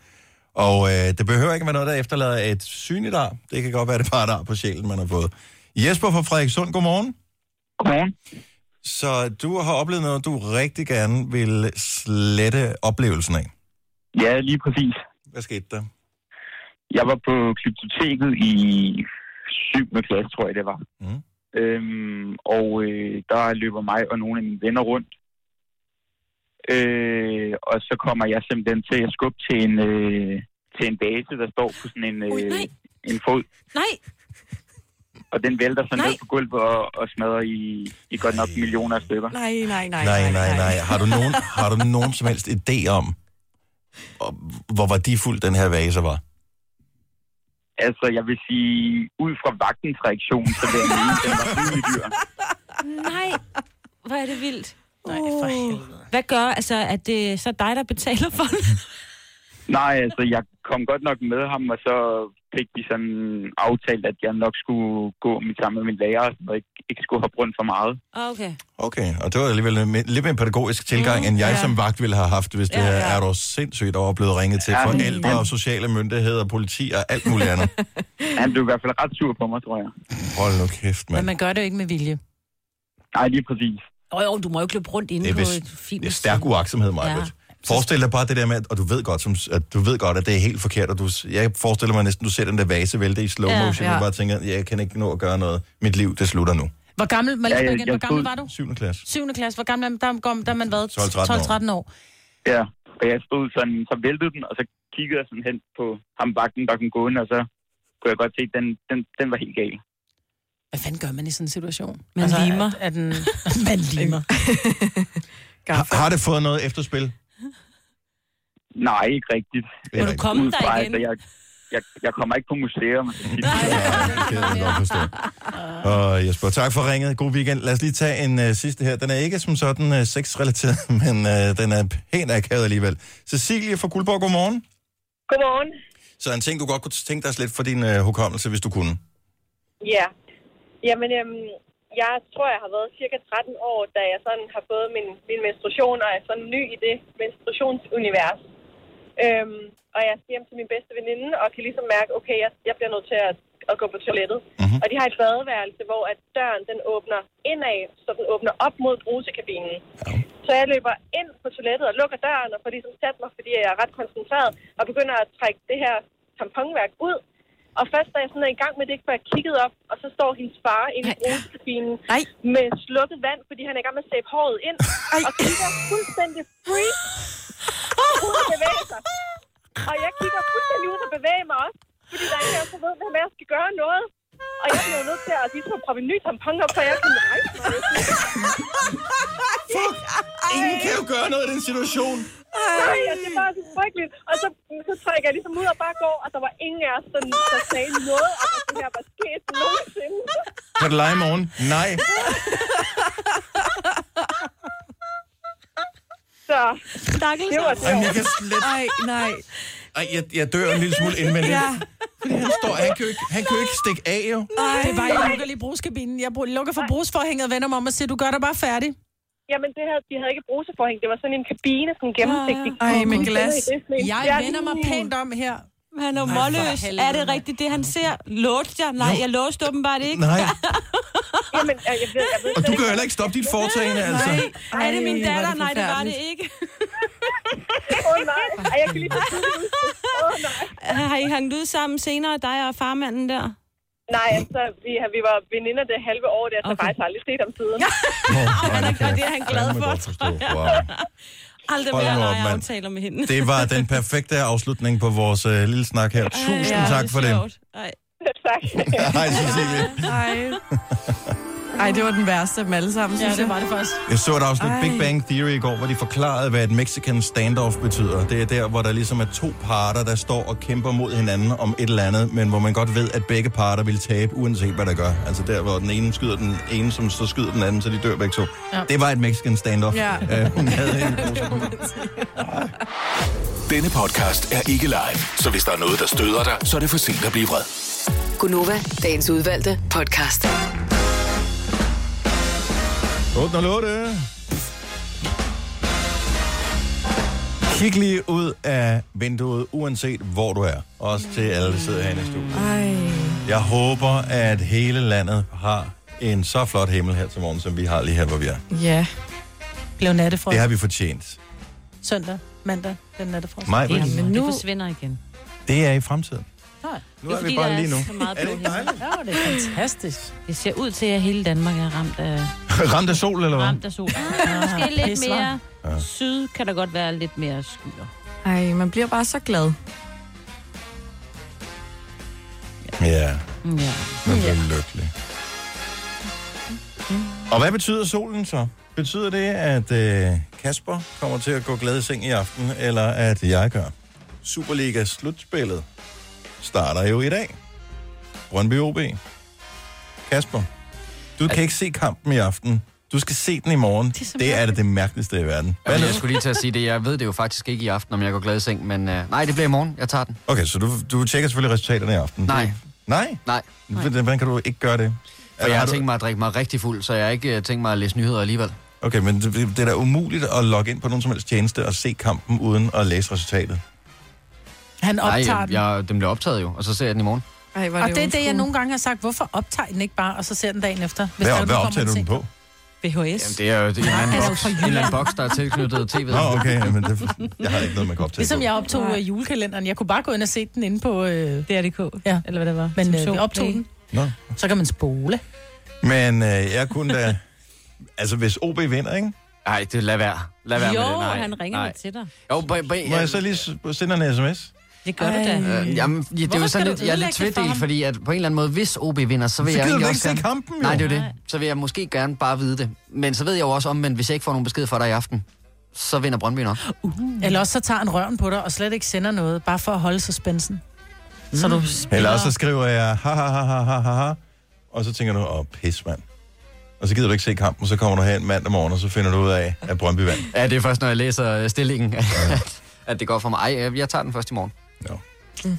Og uh, det behøver ikke være noget, der efterlader et synligt ar. Det kan godt være, det bare er et ar på sjælen, man har fået. Jesper fra Frederikssund, godmorgen. Godmorgen. Så du har oplevet noget, du rigtig gerne vil slette oplevelsen af. Ja, lige præcis. Hvad skete der? Jeg var på klyptoteket i 7. klasse, tror jeg det var. Mm. Øhm, og øh, der løber mig og nogle af mine venner rundt. Øh, og så kommer jeg simpelthen til at skubbe til en, øh, til en base, der står på sådan en, øh, en fod. Nej, Og den vælter så ned på gulvet og, og smadrer i, i godt nok millioner af stykker. Nej, nej, nej. Nej, nej, nej. Har du nogen, har du nogen som helst idé om, og hvor var de fuld den her vase var? Altså, jeg vil sige, ud fra vagtens reaktion, så vil jeg mene, den var rimelig dyr. nej. Hvor er det vildt. Nej, for helvede. Hvad gør, altså, at det er så dig, der betaler for det? Nej, altså, jeg kom godt nok med ham, og så fik vi sådan aftalt, at jeg nok skulle gå med sammen med min lærer, og ikke, ikke skulle hoppe rundt for meget. Okay. Okay, og det var alligevel en, lidt mere en pædagogisk tilgang, mm, end jeg ja. som vagt ville have haft, hvis det ja, ja. er dog sindssygt over blevet ringet til Ja, men- forældre og sociale myndigheder, politi og alt muligt andet. Han blev i hvert fald ret sur på mig, tror jeg. Hold nu kæft, Men mand. man gør det jo ikke med vilje. Nej, lige præcis. Åh, oh, jo, du må jo ikke løbe rundt inde Det er, på vist, et fint... det er stærk uaksomhed, mig. Ja. Ja. Forestil dig bare det der med, at- og du ved godt, som, at du ved godt, at det er helt forkert, og du, jeg forestiller mig næsten, du ser den der vase vælte i slow Ja, motion, ja, ja. ja. og bare tænker, jeg kan ikke nå at gøre noget. Mit liv, det slutter nu. Hvor gammel, man, ja, ja, igen, hvor gammel var du? 7. klasse. 7. klasse. Hvor gammel er man? Der, kom, der er man været 12-13 år. 12-13 år. Ja, og jeg stod sådan, så væltede den, og så kiggede jeg sådan hen på ham vagten, der kom gående, og så kunne jeg godt se, at den, den, den var helt gal. Hvad fanden gør man i sådan en situation? Altså, Man limer. Er, er den... man limer. Har, har det fået noget efterspil? Nej, ikke rigtigt. Må du komme Udefra, der igen? Altså, jeg, jeg, jeg kommer ikke på museum. Og Jesper, tak for ringet. God weekend. Lad os lige tage en uh, sidste her. Den er ikke som sådan uh, sexrelateret, men uh, den er pænt akavet alligevel. Cecilie fra Guldborg, godmorgen. Godmorgen. Så en ting, du godt kunne tænke dig lidt for din uh, hukommelse, hvis du kunne. Ja. Jamen, øhm, jeg tror, jeg har været cirka 13 år, da jeg sådan har fået min, min menstruation, og er sådan ny i det menstruationsunivers. Øhm, og jeg skal hjem til min bedste veninde, og kan ligesom mærke, okay, jeg, jeg bliver nødt til at, at gå på toilettet. Mm-hmm. Og de har et badeværelse, hvor at døren den åbner indad, så den åbner op mod brusekabinen. Ja. Så jeg løber ind på toilettet og lukker døren, og får ligesom sat mig, fordi jeg er ret koncentreret, og begynder at trække det her tamponværk ud. Og først da jeg sådan er i gang med det, får jeg kigget op, og så står hendes far inde i brusekabinen med slukket vand, fordi han er i gang med at sæbe håret ind, Ej. og kigger fuldstændig free ud og bevæge sig. Og jeg kigger fuldstændig ud og bevæger mig også, fordi der er ingen af os, der ved, hvem af os skal gøre noget. Og jeg bliver jo nødt til at ligesom proppe en ny tampon op, for jeg kan rejse mig. Fuck! Ingen kan jo gøre noget i den situation. Nej, og det var så frygteligt. Og så, så trækker jeg ligesom ud og bare går, og der var ingen af os, der, der sagde noget om, at det her var sket nogensinde. Kan du lege i morgen? Nej. Så Stakkels. det var det. Jamen, jeg kan slet... Nej, nej. Ej, jeg, jeg dør en lille smule indvendigt. Ja. ja. Fordi han står, han kan jo ikke, han kan jo ikke stikke af, jo. Det var, jeg lukker lige brugskabinen. Jeg bru- lukker for brugsforhænget og vender mig om og siger, du gør dig bare færdig. Jamen, det her, de havde ikke brusforhæng. Det var sådan en kabine, sådan en gennemsigtig. Ah. Ej, med kabine. glas. Det er sådan en- Jeg Ja, vender mig lige- pænt om her. Han er jo Nej, målløs. for helvede. Er det rigtigt, det han ser? Låste jeg? Nej, jeg låste åbenbart ikke. Nej. Jamen, øh, jeg ved, jeg ved Og du kan jo heller ikke stoppe dit foretagende, altså. Nej. Er det min Ej, hvor er datter? det Nej, det var det forfærdeligt. ikke. Åh oh, nej, Ej, jeg kan lige så tydeligt huske det. Åh nej. Har I hangt ud sammen senere, dig og farmanden der? Nej, altså, vi, vi var veninder det halve år, der, så okay. faktisk aldrig set ham siden. Han er, og det er han glad Fandme for, godt tror jeg. Wow. Aldrig Hold mere nu op, leger mand. aftaler med hende. Det var den perfekte afslutning på vores øh, lille snak her. Tusind Ja, tak er for det. sjovt. Ej. tak. Hej, Cecilie. Ej. Ej, det var den værste af dem alle sammen, synes det var det faktisk. Jeg så et afsnit Big Bang Theory i går, hvor de forklarede, hvad et Mexican standoff betyder. Det er der, hvor der ligesom er to parter, der står og kæmper mod hinanden om et eller andet, men hvor man godt ved, at begge parter vil tabe, uanset hvad der gør. Altså der, hvor den ene skyder den ene, som så skyder den anden, så de dør begge to. Ja. Ja. Det var et Mexican standoff. Ja. Øh, hun havde en Denne podcast er ikke live, så hvis der er noget, der støder dig, så er det for sent at blive vred. Gunova, dagens udvalgte podcast. 808. Kig lige ud af vinduet, uanset hvor du er. Også til alle, der sidder herinde i studiet. Ej. Jeg håber, at hele landet har en så flot himmel her til morgen, som vi har lige her, hvor vi er. Ja. Blev nattefrost. Det har vi fortjent. Søndag, mandag, den nattefrost. Maj, Britt. Ja, men nu... Det forsvinder igen. Det er i fremtiden. Nej. Nu er vi bare lige nu. er det dejligt? Ja, det er fantastisk. Det ser ud til, at hele Danmark er ramt af, Ramt af sol, eller hvad? ramt af sol. Ah, Måske lidt pisser. mere syd, kan der godt være lidt mere skyer. Mm, Ej, man bliver bare så glad. Ja, Ja. man bliver lykkelig. Og hvad betyder solen så? Betyder det, at øh, Kasper kommer til at gå glad i seng i aften, eller at jeg gør? Superliga-slutspillet starter jo i dag. Brøndby OB. Kasper, du kan ikke se kampen i aften. Du skal se den i morgen. Det er det, er det mærkeligste i verden. Jamen, jeg skulle lige til at sige det. Jeg ved det jo faktisk ikke i aften, om jeg går glad i seng, men øh, nej, det bliver i morgen. Jeg tager den. Okay, så du, du tjekker selvfølgelig resultaterne i aften? Nej. Nej? Nej. Hvordan kan du ikke gøre det? For jeg har tænkt mig at drikke mig rigtig fuld, så jeg har ikke øh, tænkt mig at læse nyheder alligevel. Okay, men det, det er da umuligt at logge ind på nogen som helst tjeneste og se kampen uden at læse resultatet. Han optager nej, den. jeg, jeg, den bliver optaget jo, og så ser jeg den i morgen. Ej, var Og det er det, jeg nogle gange har sagt. Hvorfor optager I den ikke bare, og så ser den dagen efter? Hvad- der er hvad nogen, optager der du kommer den til? Jamen, det er jo det er en eller anden altså, Han er jo boks, fra en Jylland. eller anden boks, der er tilknyttet tv'et. Nå, okay, men det, jeg har ikke noget, man altså. kan optage Ligesom på. jeg optog øh, julekalenderen. Jeg kunne bare gå ind og se den inde på... Øh... DRDK, ja. eller hvad det var. Som Men Mm-hmm. øh, så vi optog play. den. Nå. Så kan man spole. Men øh, jeg kunne da... Altså, hvis OB vinder, ikke? Nej, det lad være. Lad være jo, med det. Nej, han ringer nej. mig til dig. Jo, b- b- Må jeg så lige s- sende en sms? Det gør du da. Øh, jamen, ja, det er Hvorfor skal jo sådan du lidt, jeg er lidt ødelægge det for tvedelt, ham? fordi at på en eller anden måde, hvis OB vinder, så vil Så jeg gider egentlig du ikke også se gerne... kampen, jo. Nej, det er jo det. Så vil jeg måske gerne bare vide det. Men så ved jeg jo også omvendt, hvis jeg ikke får nogen besked fra dig i aften, så vinder Brøndby nok. Mm-hmm. Eller også så tager han røven på dig, og slet ikke sender noget, bare for at holde suspensen. Så Mm. du spiller... Mm. Eller også så skriver jeg, ha, ha, ha, ha, ha, ha, ha. Og så tænker du, åh, pis, mand. Og så gider du ikke se kampen, så kommer du her en mandag morgen, og så finder du ud af, at Brøndby vandt. Ja, det er først, når jeg læser øh, stillingen, at, at det går for mig. Ej, øh, jeg tager den først i morgen. Jeg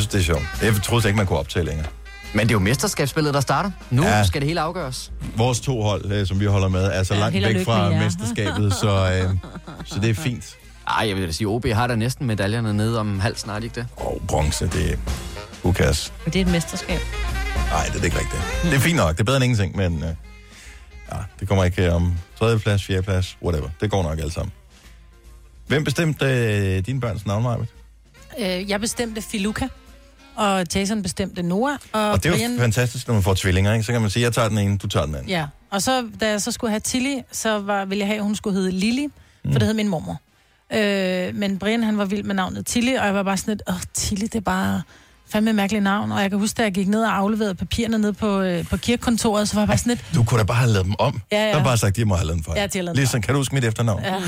synes, det er sjovt. Jeg troede slet ikke, man kunne optage længere. Men det er jo mesterskabsspillet, der starter. Nu ja. skal det hele afgøres. Vores to hold, øh, som vi holder med, er så Ja, ja, langt held og væk lykke fra med jer. mesterskabet, så, øh, så det er fint. Ej, jeg vil da sige, OB har da næsten medaljerne nede om halsen, har de ikke det? Og bronze, det er... Who cares? Men det er et mesterskab. Uh, Nej, det er det ikke rigtigt. Det er fint nok, det er bedre end ingenting, men... Øh, ja, det kommer ikke øh, om tredje plads, fjerde plads, whatever. Det går nok alt sammen. Hvem bestemte øh, dine børns navn, Marvitt? Øh, jeg bestemte Filuka, og Jason bestemte Noah, og, Og det er jo Brian... fantastisk, når man får tvillinger, ikke? Så kan man sige, jeg tager den ene, du tager den anden. Ja, og så da jeg så skulle have Tilly, så var, ville jeg have, at hun skulle hedde Lili, for det hed min mormor. Øh, men Brian, han var vild med navnet Tilly, og jeg var bare sådan lidt, åh, Tilly, det er bare fandme et mærkeligt navn. Og jeg kan huske, da jeg gik ned og afleverede papirerne ned på, øh, på kirkekontoret, så var jeg bare sådan lidt, Du kunne da bare have lavet dem om. Ja, ja. Der har bare sagt, de må have lavet en fejl. Ja, de har lavet en Ligesom, kan du huske mit efternavn? Ja.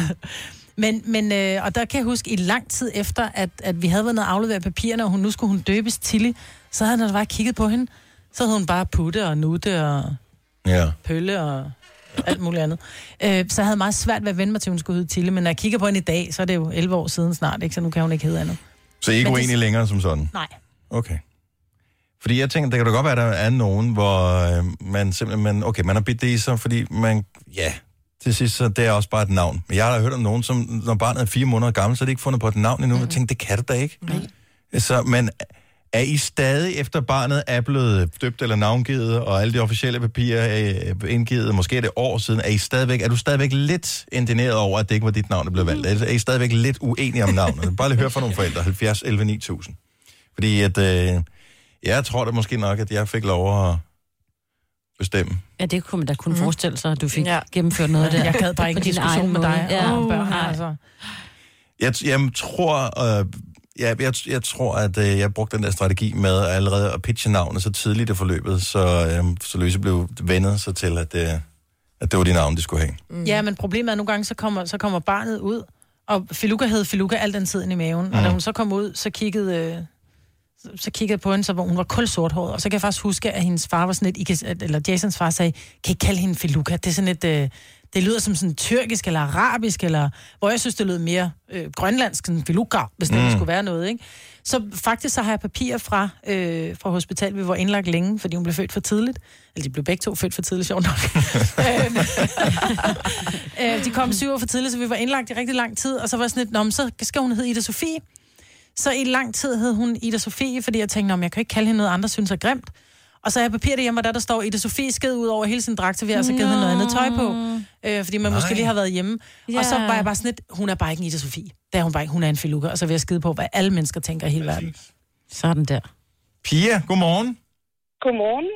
Men, men øh, og der kan jeg huske, i lang tid efter, at, at vi havde været nede og afleveret papirerne, og hun, nu skulle hun døbes Tilly, så havde han bare kigget på hende. Så havde hun bare putte og nutte og ja. pølle og alt muligt andet. Øh, så jeg havde meget svært ved at vende mig til, at hun skulle hedde Tilly, men når jeg kigger på hende i dag, så er det jo 11 år siden snart, ikke? så nu kan hun ikke hedde andet. Så I er ikke Men det- uenige længere som sådan? Nej. Okay. Fordi jeg tænker, det kan da godt være, at der er nogen, hvor øh, man simpelthen, man, okay, man har bidt det i sig, fordi man, ja, til sidst, så det er også bare et navn. Men jeg har da hørt om nogen, som når barnet er fire måneder gammel, så har de ikke fundet på et navn endnu. Mm. Jeg tænkte, det kan det da ikke. Mm. Så, men er I stadig efter barnet er blevet døbt eller navngivet, og alle de officielle papirer er øh, indgivet, måske er det år siden, er, I stadigvæk, er du stadigvæk lidt indineret over, at det ikke var dit navn, der blev valgt? Er I stadigvæk lidt uenige om navnet? Bare lige høre fra nogle forældre, 70 11 9000. Fordi at, øh, jeg tror da måske nok, at jeg fik lov at bestemme. Ja, det kunne man da kun mm. forestille sig, at du fik ja. gennemført noget der. Jeg gad bare ikke På en din diskussion egen med dig måde. ja. Ja. om børn, Nej. altså. Jeg, t- jeg tror, øh, jeg, jeg, jeg tror, at øh, jeg brugte den der strategi med allerede at pitche navnet så tidligt i forløbet, så, øh, så Løse blev vendet sig til, at, øh, at det var de navne, de skulle have. Mm. Ja, men problemet er, at nogle gange, så kommer, så kommer barnet ud, og Filuka hed Filuka al den tid inde i maven. Mm. Og Mm. da hun så kom ud, så kiggede, øh, så- så kiggede jeg på hende, så hvor hun var kulsorthåret. Og så kan jeg faktisk huske, at hendes far var sådan lidt, I kan, at- eller Jasons far sagde, kan I ikke kalde hende Filuka? Det er sådan lidt, øh, det lyder som sådan tyrkisk eller arabisk, eller hvor jeg synes, det lød mere øh, grønlandsk, sådan Filuka, hvis det Mm. mm. skulle være noget, ikke? Så faktisk så har jeg papirer fra, øh, fra hospitalet, vi var indlagt længe, fordi hun blev født for tidligt. Eller de blev begge to født for tidligt, sjovt nok. Øh, de kom syv år for tidligt, så vi var indlagt i rigtig lang tid, og så var jeg sådan lidt, Nå, men så skal hun hedde Ida Sofie. Så i lang tid hed hun Ida Sofie, fordi jeg tænkte, om jeg kan ikke kalde hende noget, andre synes er grimt. Og så har jeg papir derhjemme, og der, der står Ida Sofie sked ud over hele sin dragt, så vi har altså givet hende noget andet tøj på. Øh, fordi man Nej. måske Nej. lige har været hjemme. Yeah. Ja. Og så var jeg bare sådan lidt, hun er bare ikke en Ida Sofie. Det er hun bare ikke. Hun er en filuka, og så vil jeg skide på, hvad alle mennesker tænker i hele verden. Sådan der. Pia, godmorgen. Godmorgen.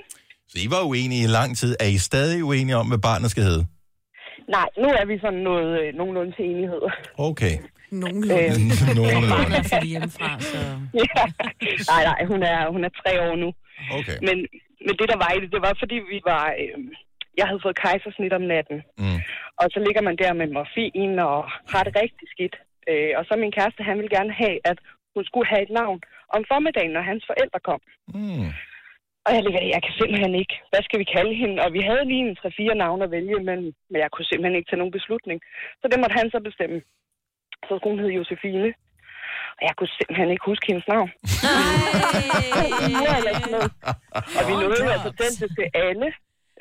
Så I var uenige i lang tid. Er I stadig uenige om, hvad barnet skal hedde? Nej, nu er vi sådan noget, øh, nogenlunde til enighed. Øh, Okay. Nogenlunde. Nogenlunde. er flyttet hjemmefra, så... ja. Nej, nej, hun er, hun er tre år nu. Okay. Men, men det, der var i det, det var, fordi vi var... Øh, jeg havde fået kejsersnit om natten. Mm. Og så ligger man der med morfin og har det rigtig skidt. Øh, og så min kæreste, han ville gerne have, at hun skulle have et navn om formiddagen, når hans forældre kom. Mm. Og jeg ligger der, jeg kan simpelthen ikke. Hvad skal vi kalde hende? Og vi havde lige en 3-4 navne at vælge imellem, men jeg kunne simpelthen ikke tage nogen beslutning. Så det måtte han så bestemme. Så skulle hun hedde Josefine. Og jeg kunne simpelthen ikke huske hendes navn. og vi nåede jo at altså fortælle det til alle.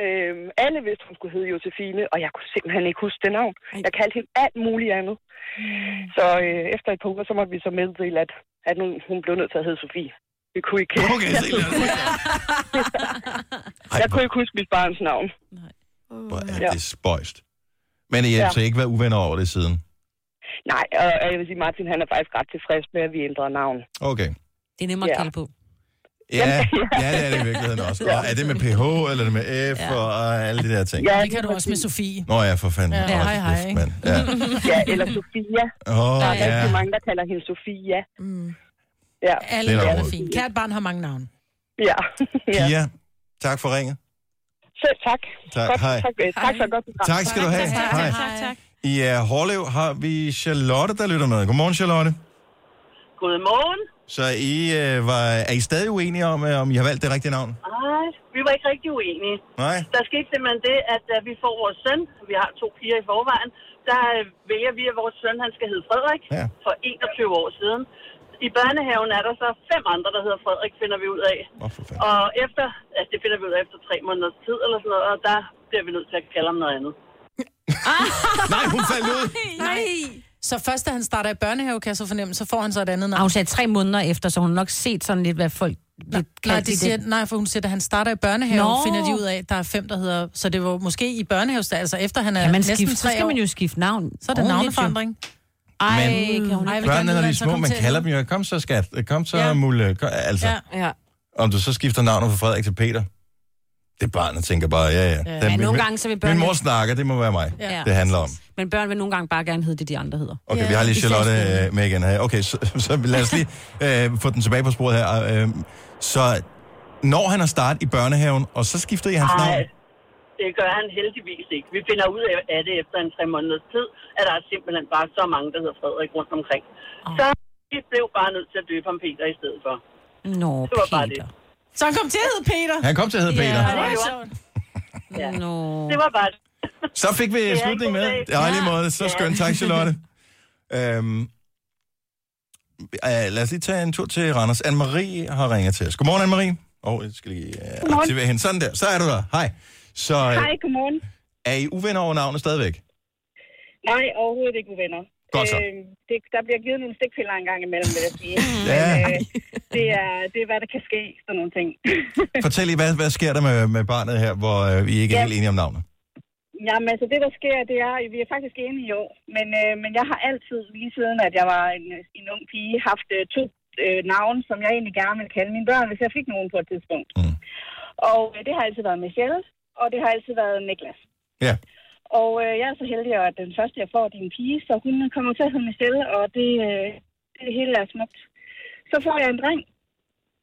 Øhm, alle vidste, hun skulle hedde Josefine, og jeg kunne simpelthen ikke huske det navn. Jeg kaldte hende alt muligt andet. Mm. Så øh, efter et par uger, så måtte vi så meddele, at, at nu, hun blev nødt til at hedde Sofie. Vi kunne ikke... Okay, se, jeg kunne ikke huske mit barns navn. Hvor er Ja. det spøjst. Men I har Ja. altså ikke været uvenner over det siden? Nej, og og jeg vil sige, Martin han er faktisk ret tilfreds med, at vi ændrer navn. Okay. Det er nemmere at kalde på. Ja, ja, det er det i virkeligheden også. Og er det med PH, eller er det med F, ja. og alle de der ting? Ja, det kan du også med Sofie. Nå ja, for fanden. Ja, Hold hej, hej, kæft, ikke? mand. Ja. Ja, eller Sofia. Åh, der er ja. rigtig mange, der kalder hende Sofia. Mm. Ja. Alle Det er er der overhovedet. fint. Kært barn har mange navne. Ja. Pia, tak for ringet. Selv tak. Tak, Godt, hej. Tak, øh, tak for et godt program. Tak skal du have. Hej. I uh, Hårlev har vi Charlotte, der lytter med. Godmorgen, Charlotte. Godmorgen. Så I, uh, var, er I stadig uenige om, uh, om I har valgt det rigtige navn? Ej, vi var ikke rigtig uenige. Nej? Der skete simpelthen det, at da vi får vores søn, vi har to piger i forvejen, der øh, vælger vi, at vores søn han skal hedde Frederik ja. for 21 år siden. I børnehaven er der så fem andre, der hedder Frederik, finder vi ud af. Og efter, altså det finder vi ud af efter tre måneders tid eller sådan noget, og der bliver vi nødt til at kalde ham noget andet. Nej, hun faldt ud. Nej. Så først, da han starter i børnehave, kan jeg så fornemme, så får han så et andet Og navn. hun sagde tre måneder efter, så hun har nok set sådan lidt, hvad folk lidt Nej, i de det. siger, nej, for hun siger, at han starter i børnehave, Nå. finder de ud af, at der er fem, der hedder... Så det var måske i børnehave, altså efter han er Kan man næsten skifte, så tre skal år. man jo skifte navn. Så er det ordentligt jo. navneforandring. Ej, Men kan hun ikke? Børnene, når de er små, man kalder dem jo, kom så skat, kom så Ja. ja. mulle, kom, altså. Ja. Ja. Om du så skifter navnet fra Frederik til Peter, det barnet tænker bare, ja, ja. Ja, Den- nogle min- gange så vil Min børnene- mor snakker, det må være mig, Ja. ja. det handler om. Men børn vil nogle gange bare gerne hedde det, de andre hedder. Okay, vi har lige Især Charlotte skolen. øh, med igen her. Okay, så, så lad os lige øh, få den tilbage på sporet her. Øh, så når han har startet i børnehaven, og så skifter I hans Ej. navn? Det gør han heldigvis ikke. Vi finder ud af det efter en tre måneders tid, at der er simpelthen bare så mange, der hedder Frederik rundt omkring. Så vi blev bare nødt til at døbe ham Peter i stedet for. Nå, Det var bare det. Så han kom til at hedde Peter. Han kom til at hedde Peter. Ja, det, var, ja. det var bare det. Så fik vi Det er en slutningen god med. dag. Det er lige Ja. måde. Så Ja. skønt. Tak, Charlotte. øhm, øh, lad os lige tage en tur til Randers. Anne-Marie har ringet til os. Godmorgen, Anne-Marie. Åh, oh, jeg skal lige øh, Godmorgen. aktivere hende. Sådan der. Så er du der. Hej. Så øh, Hej, godmorgen. er I uvenner over navnet stadigvæk? Nej, overhovedet ikke uvenner. Godt så. Øhm, det, der bliver givet nogle stikpiller en gang imellem, vil jeg sige. Ja. Men, øh, det, er, det er, hvad der kan ske, sådan nogle ting. Fortæl lige, hvad, hvad sker der med, med barnet her, hvor øh, vi ikke er Ja. helt enige om navnet? Jamen, altså det, der sker, det er, vi er faktisk enige i år, men, øh, men jeg har altid, lige siden at jeg var en, en ung pige, haft øh, to øh, navne, som jeg egentlig gerne ville kalde mine børn, hvis jeg fik nogen på et tidspunkt. Mm. Og øh, det har altid været Michelle, og det har altid været Niklas. Ja. Og øh, jeg er så heldig, at den første, jeg får, det er en pige, så hun kommer til at hedde Michelle, og det, øh, det hele er smukt. Så får jeg en dreng,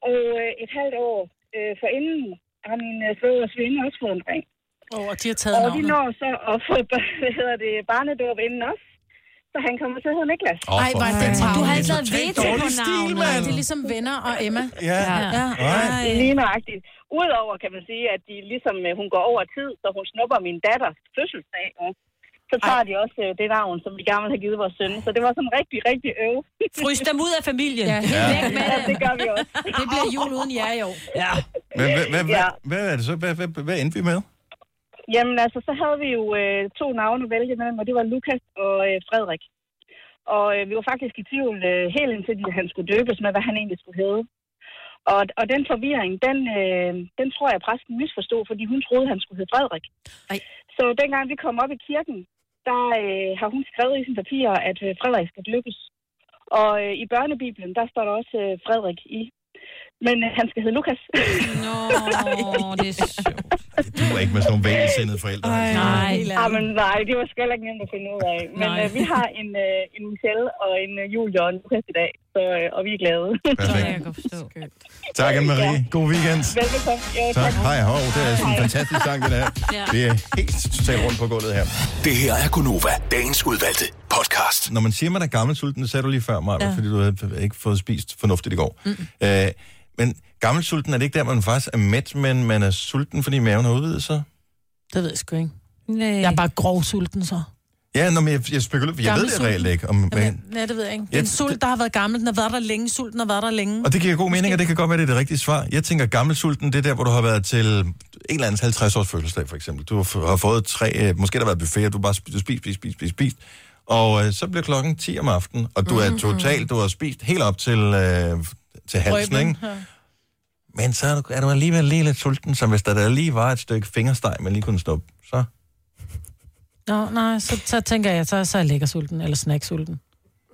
og øh, et halvt år øh, forinden har min øh, svøger og svinde også fået en dreng. Oh, og de har taget og de navnet. når så at få bør- hvad hedder det, barnedåb inden os. Så han kommer til at hedde Niklas. Åh, for hvor er det fanden. tavligt. Du har ikke lavet veto på Dårlig stil, navnet. mand. Det er ligesom venner og Emma. Ja. ja. Nej. Lige nøjagtigt. Udover kan man sige, at de ligesom, øh, hun går over tid, så hun snupper min datters fødselsdag. Og så tager Ej. de også øh, det navn, som vi gerne vil have givet vores søn. Så det var sådan rigtig, rigtig øv. Frys dem ud af familien. Ja, helt Ja. væk med ja, det gør vi også. Det bliver jul uden jer i år. Ja. Men hvad, hvad, hvad, hvad er det så? Hvad, hvad, hvad endte vi med? Jamen altså, så havde vi jo øh, to navne at vælge mellem, og det var Lukas og øh, Frederik. Og øh, vi var faktisk i tvivl øh, helt indtil de- han skulle døbes med, hvad han egentlig skulle hedde. Og, og den forvirring, den, øh, den tror jeg, præsten misforstod, fordi hun troede, han skulle hedde Frederik. Ej. Så dengang vi kom op i kirken, der øh, har hun skrevet i sine papirer, at øh, Frederik skal døbes. Og øh, i børnebibelen, der står der også øh, Frederik i. Men øh, han skal hedde Lukas. Nå, det er Du er ikke med sådan nogle vælgesindede forældre. altså. Ah, men, nej, det var sgu heller ikke nemt at finde ud af. Men Nej. øh, vi har en, øh, en Michelle og en øh, Julie og en Lukas i dag, så, øh, og vi er glade. Perfekt. Tak, Anne-Marie. God weekend. Velbekomme. Jo, Tak. Hej, hov. Det er sådan en fantastisk sang, den her. Ja. Det er helt totalt rundt på gulvet her. Det her er Gunova, dagens udvalgte podcast. Når man siger, man er gammelsulten, det sagde du lige før, mig, ja. Ja. fordi du havde ikke fået spist fornuftigt i går. Mm. Øh, men gammelsulten, er det ikke der, man faktisk er mæt, men man er sulten, fordi maven har udvidet sig? Det ved jeg sgu ikke. Nej. Jeg er bare grovsulten så. Ja, når jeg, jeg spekulerer, for jeg ved det Gammelsulten. reelt ikke. Om, men, Nej, det ved jeg ikke. Det Jeg- er en sult, der har været gammel. Den har været der længe. Sulten har været der længe. og det giver god mening, og det kan godt være, det er det rigtige svar. Jeg tænker, gammelsulten, det er der, hvor du har været til en eller anden 50-års fødselsdag, for eksempel. Du har f- har fået tre, øh, måske der har været buffet, og du har bare spist, spist, spist, spist, spist, spist. Og øh, så bliver klokken 10 om aftenen, og du er Mhm. totalt, du har spist helt op til, øh, til halsen, ikke? Men så er du, er du alligevel lige lidt sulten, som hvis der, der lige var et stykke fingersteg, man lige kunne snuppe. Så Nå, nej, så, så tænker jeg, så, så er jeg lækkersulten, eller snacksulten.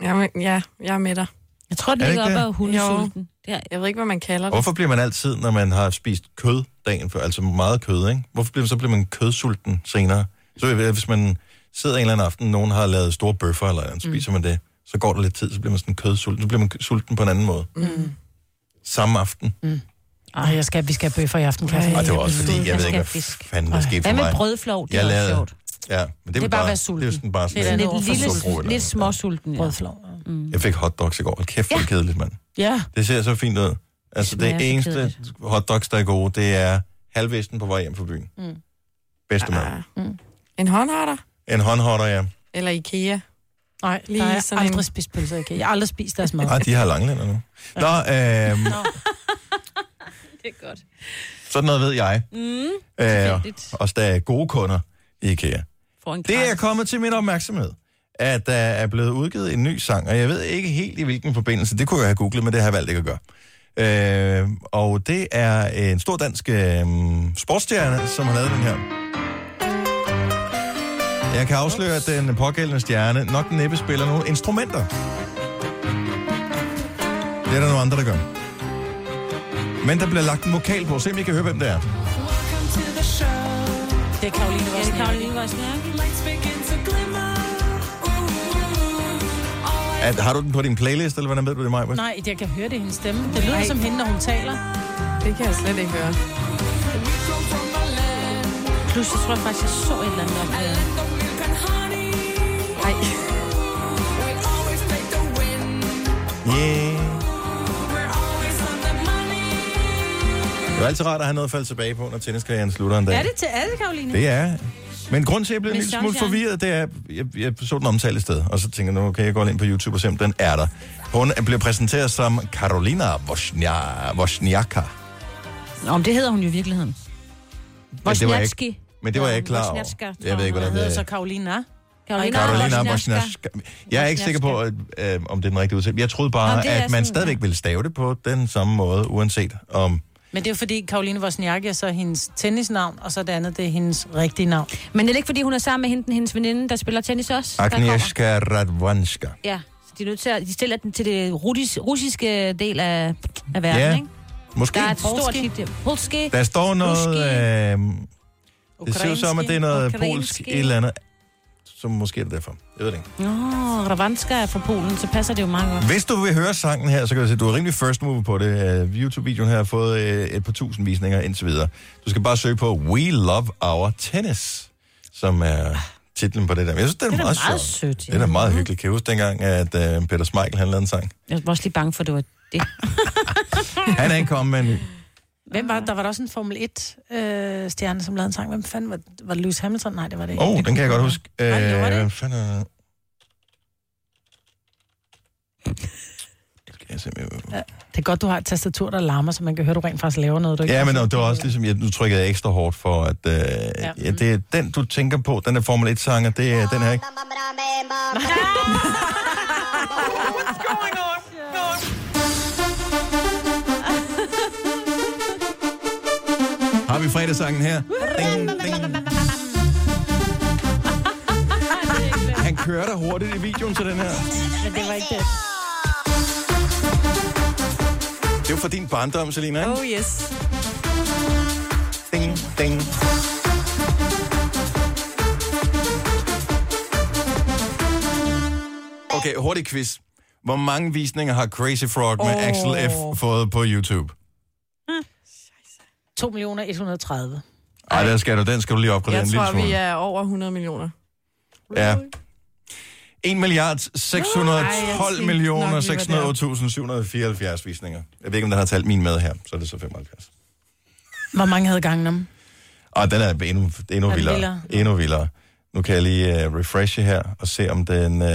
Jamen, ja, jeg er med dig. Jeg tror, den Er det ligger ikke op det? ad hundesulten. Jo. Jeg ved ikke, hvad man kalder det. hvorfor bliver man altid, når man har spist kød dagen før, altså meget kød, ikke? Hvorfor bliver, så bliver man kødsulten senere? Så ved jeg, hvis man sidder en eller anden aften, nogen har lavet store bøffer, eller andet, spiser man det, så går der lidt tid, så bliver man sådan kødsulten, så bliver man sulten på en anden måde. Mm. Samme aften. Ej, jeg skal, vi skal have bøffer i aften. Kan jeg Og det var finde. også Mm. fordi, jeg ved ikke, hvad fisk. fanden der skete for Hvad mig. med brødflov? Det Jeg er også lavede- sjovt. Ja, men det, Det var er bare at være Det er sulten. jo sådan bare Det er sådan lidt, lidt, lille, lidt småsulten, ja. Brødflov. Jeg fik hotdogs i går. Hold Kæft, hvor er det kedeligt, mand. Ja. Det ser så fint ud. Altså, Det smager det, så det eneste kedeligt. hotdogs, der er gode, det er halvvesten på vej hjem fra byen. Mm. Bedste Ah. mad. En håndhotter? En håndhotter, ja. Eller Ikea? Nej, Lige der har jeg sådan aldrig spist pølser i IKEA. Jeg har aldrig spist deres mad. Nej, Ah, de har langlænder nu. Nå, øhm, Det er godt. sådan noget ved jeg. Mm. Øh, også der er gode kunder i IKEA. Får en Det er kommet til min opmærksomhed, at der er blevet udgivet en ny sang, og jeg ved ikke helt i hvilken forbindelse. Det kunne jeg have googlet, men det har jeg valgt ikke at gøre. Øh, og det er en stor dansk øh, sportsstjerne, som har lavet den her. Jeg kan afsløre, at den pågældende stjerne nok næppe spiller nogle instrumenter. Det er der nogle andre, der gør. Men der bliver lagt en vokal på. Se om I kan høre, hvem det er. Det er Karoline Ja, det er Karoline Vosniak. At, har du den på din playlist, eller hvordan ved du det, Maja? Nej, jeg kan høre det i hendes stemme. Det lyder Nej. som hende, når hun taler. Det kan jeg slet ikke høre. Plus, jeg tror faktisk, jeg så et eller andet om det. Ej. Yeah. Det er altid rart at have noget at falde tilbage på, når tenniskarrieren slutter en dag. Er det til alle, Karoline? Det er. Men grund til, at jeg blev en Med lille smule sunshine. forvirret, det er, jeg, jeg så den omtale et sted, og så tænker jeg, nu okay, jeg går ind på YouTube og se, om den er der. Hun blev præsenteret som Karolina Woznia- Wozniaka. Nå, men det hedder hun jo i virkeligheden. Men det var jeg Wozniacki. ikke, men det var jeg ikke klar over. Wozniacka, tror Jeg ved ikke, jeg, hvordan hedder det så er. Karolina. Karolina Karolina Wozniacka. Bosniaska. Jeg er ikke sikker på, at, øh, om det er den rigtige udtale. Jeg troede bare, Nå, Nå, det er at man sådan, stadigvæk ville stave det på den samme måde, uanset om... Men det er jo fordi, Karoline Wozniacki er så hendes tennisnavn, og så det andet, det er hendes rigtige navn. Men det er ikke, fordi hun er sammen med hende, hendes veninde, der spiller tennis også? Der kommer- Agnieszka Radwanska. Ja, så de er nødt til at, de stiller den til det rudis, russiske del af, af verden, Ja, ikke? Måske. Der er et stort hit. Polski. Der står noget... Øh, det ser ud som, at det er noget Ukrainske. polsk et eller andet. Så måske er det derfor. Jeg ved det ikke. Nå, Ravanska er fra Polen, så passer det jo meget godt. Hvis du vil høre sangen her, så kan du se, at du er rimelig first mover på det. Øh, YouTube-videoen her har fået øh, et par tusind visninger indtil videre. Du skal bare søge på We Love Our Tennis, som er titlen på det der. Men jeg synes, det er, Det er da meget, meget sjovt. sødt, ja. Det er da meget hyggeligt. Kan jeg huske dengang, at øh, Peter Smeichel han lavede en sang? Jeg var også lige bange for, at det var det. Han er ikke kommet med en ny. Hvem var det? Der var der også en Formel 1-stjerne, øh, stjerne, som lavede en sang. Hvem fanden var det? Var det Lewis Hamilton? Nej, det var det ikke. Åh, oh, den kan jeg godt huske. Øh, Nej, det var det hvad ikke. fanden er det? Skal jeg se, om jeg- Ja, det er godt, du har et tastatur, der larmer, så man kan høre, du rent faktisk laver noget. Du ikke Ja, men kan- det var også ligesom, jeg, nu trykkede jeg ekstra hårdt for, at øh, ja. Ja, det er den, du tænker på, den er Formel 1-sanger, det er den her, ikke? Har vi fredagssangen her? Ding, ding. Han kører der hurtigt i videoen til den her. Men det var ikke det. Det er jo fra din barndom, Selina, ikke? Oh yes. Ding, ding. Okay, hurtig quiz. Hvor mange visninger har Crazy Frog med Åh. oh. Axel F. fået på YouTube? 2 millioner 130. Ej, der skal du, den skal du lige opgradere Jeg en lille tror, smule. vi er over 100 millioner. Ja. 1 milliard 612 tænkte millioner nok, vi var 608.774 visninger. Jeg ved ikke, om den har talt min med her, så er det så 75. Hvor mange havde gangen om? Og den er endnu, endnu Er den vildere. vildere? Endnu vildere. Nu kan jeg lige uh, refreshe her og se, om den... Uh...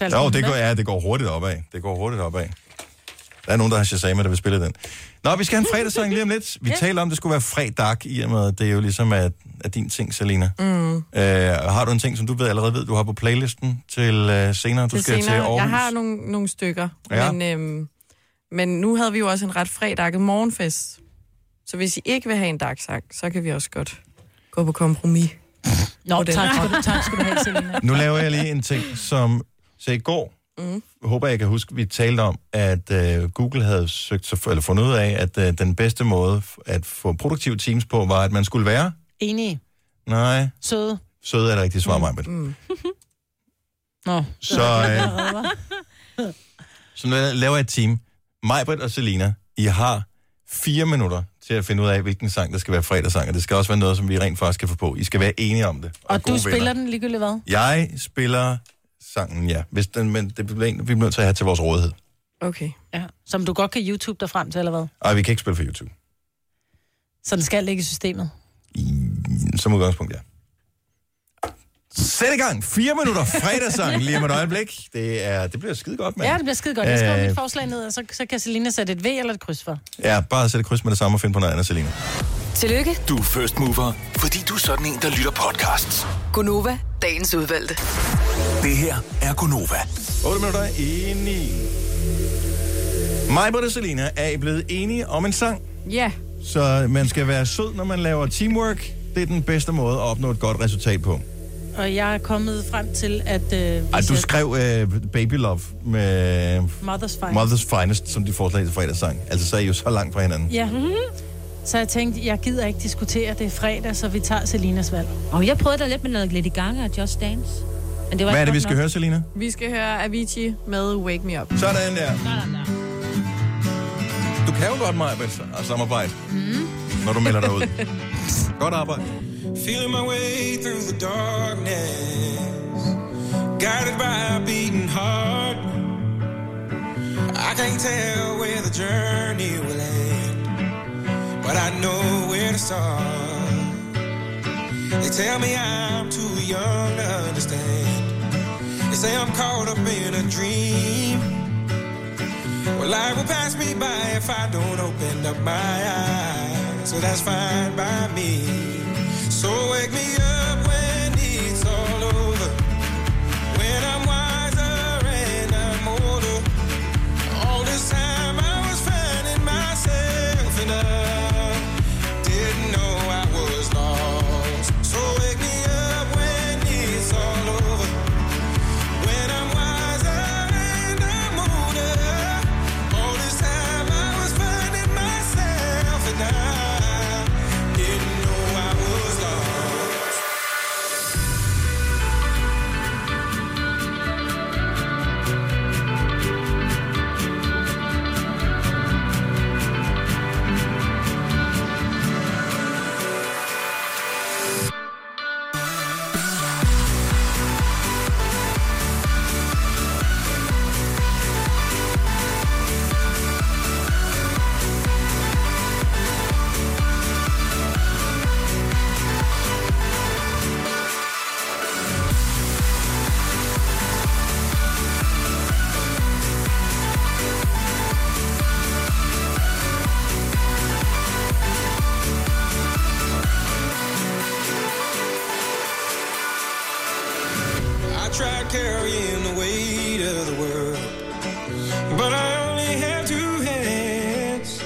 altså Jo, det går, 100? ja, det går hurtigt opad. Det går hurtigt opad. Der er nogen, der har Shazam, der vil spille den. Nå, vi skal have en fredagssang lige om lidt. Vi taler om, det skulle være fredag, i og med, at det er jo ligesom at, at din ting, Selina. Mm. Øh, har du en ting, som du ved, allerede ved, du har på playlisten til øh, senere? Du Til skal senere. til Aarhus. Jeg har nogle, nogle stykker, Ja. ja. men, øhm, men nu havde vi jo også en ret fredakket morgenfest. Så hvis I ikke vil have en dagsang, så kan vi også godt gå på kompromis. Nå, På den tak måde. skal, du, tak skal du have, Selina. Nu laver jeg lige en ting, som... Så i går, Mm. håber jeg kan huske, vi talte om, at øh, Google havde søgt, sig- eller fundet ud af, at øh, den bedste måde f- at få produktive teams på, var, at man skulle være... Enige. Nej, Søde. søde er det rigtige svar, mm. Mm. Nå. Så, øh, Så nu laver jeg et team. Majbrit og Selina, I har fire minutter til at finde ud af, hvilken sang, der skal være fredagssang, og det skal også være noget, som vi rent faktisk kan få på. I skal være enige om det. er Og gode du venner. spiller den ligegyldigt hvad? Jeg spiller sangen, ja. Hvis den, men det bliver en, vi bliver nødt til at have til vores rådighed. Okay. Ja. Som du godt kan YouTube dig frem til, eller hvad? Ej, vi kan ikke spille for YouTube. Så den skal ligge i systemet. Som udgangspunkt, ja. Sæt i gang! Fire minutter fredagssang lige om et øjeblik. Det, er, det bliver skide godt, mand. Ja, det bliver skide godt. Jeg skriver Øh, mit forslag ned, og så, så kan Selina sætte et V eller et kryds for. Ja, bare sæt et kryds med det samme og find på noget andet, Selina. Tillykke, Du er first mover, fordi du er sådan en, der lytter podcasts. Gunova, dagens udvalgte. Det her er Gonova. 8 minutter i 9. Mig, Britt og Selina er I blevet enige om en sang, Ja, så man skal være sød, når man laver teamwork. Det er den bedste måde at opnå et godt resultat på. Og jeg er kommet frem til, at... Øh, vi Ej, du sætter skrev øh, Baby Love med Mother's Fine. Mother's Finest, som de forslag til fredagssang. Altså, så er I jo så langt fra hinanden. Ja. Så jeg tænkte, jeg gider ikke diskutere, det er fredag, så vi tager Selinas valg. Og jeg prøvede da lidt med noget Lady Gaga og Just Dance. Men det var Hvad ikke er det, vi godt skal nok. høre, Selina? vi skal høre Avicii med Wake Me Up. Sådan der. Du kan jo godt meget med samarbejde, Mm. når du melder dig ud. Godt arbejde. Feeling my way through the darkness, guided by a beating heart. I can't tell where the journey will end, but I know where to start. They tell me I'm too young to understand. They say I'm caught up in a dream. Well, life will pass me by if I don't open up my eyes, so that's fine by me. So wake me up when it's all over. tried carrying the weight of the world, but I only have two hands.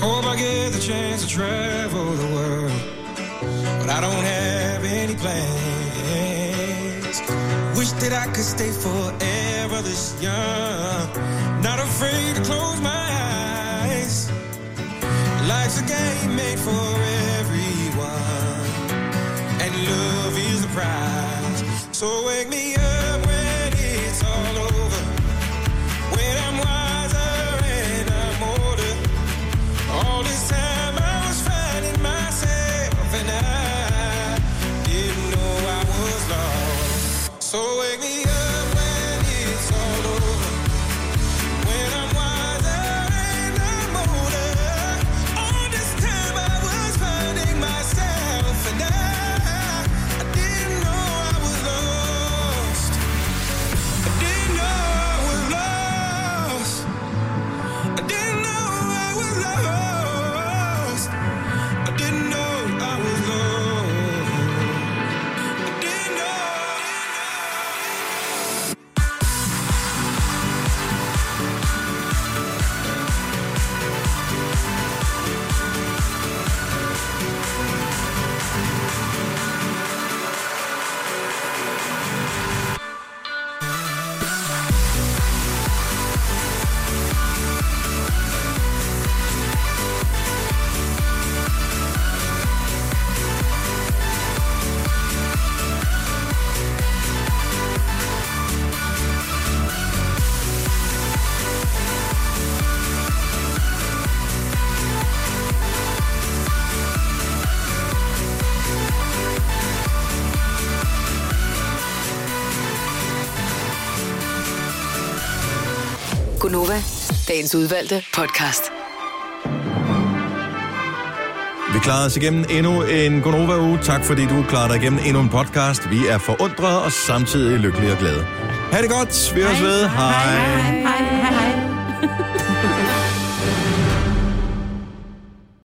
Hope I get the chance to travel the world, but I don't have any plans. Wish that I could stay forever this young, not afraid to close my eyes. Life's a game made for everyone, and love is the prize. So wake me up when it's all over, when I'm wiser and I'm older. All this time I was finding myself, and I didn't know I was lost. So wake me up when it's all over, when I'm wiser and I'm older. All this time I was finding myself, and I, I didn't know I was lost. I didn't know I was lost. I didn't know I was lost. I didn't know I was lost. I didn't know. Gunova, dagens udvalgte podcast. Vi klarede os igennem endnu en Gonova-uge. Tak fordi du klarede dig igennem endnu en podcast. Vi er forundrede og samtidig lykkelige og glade. Ha' det godt. Vi høres ved. Hej. hej.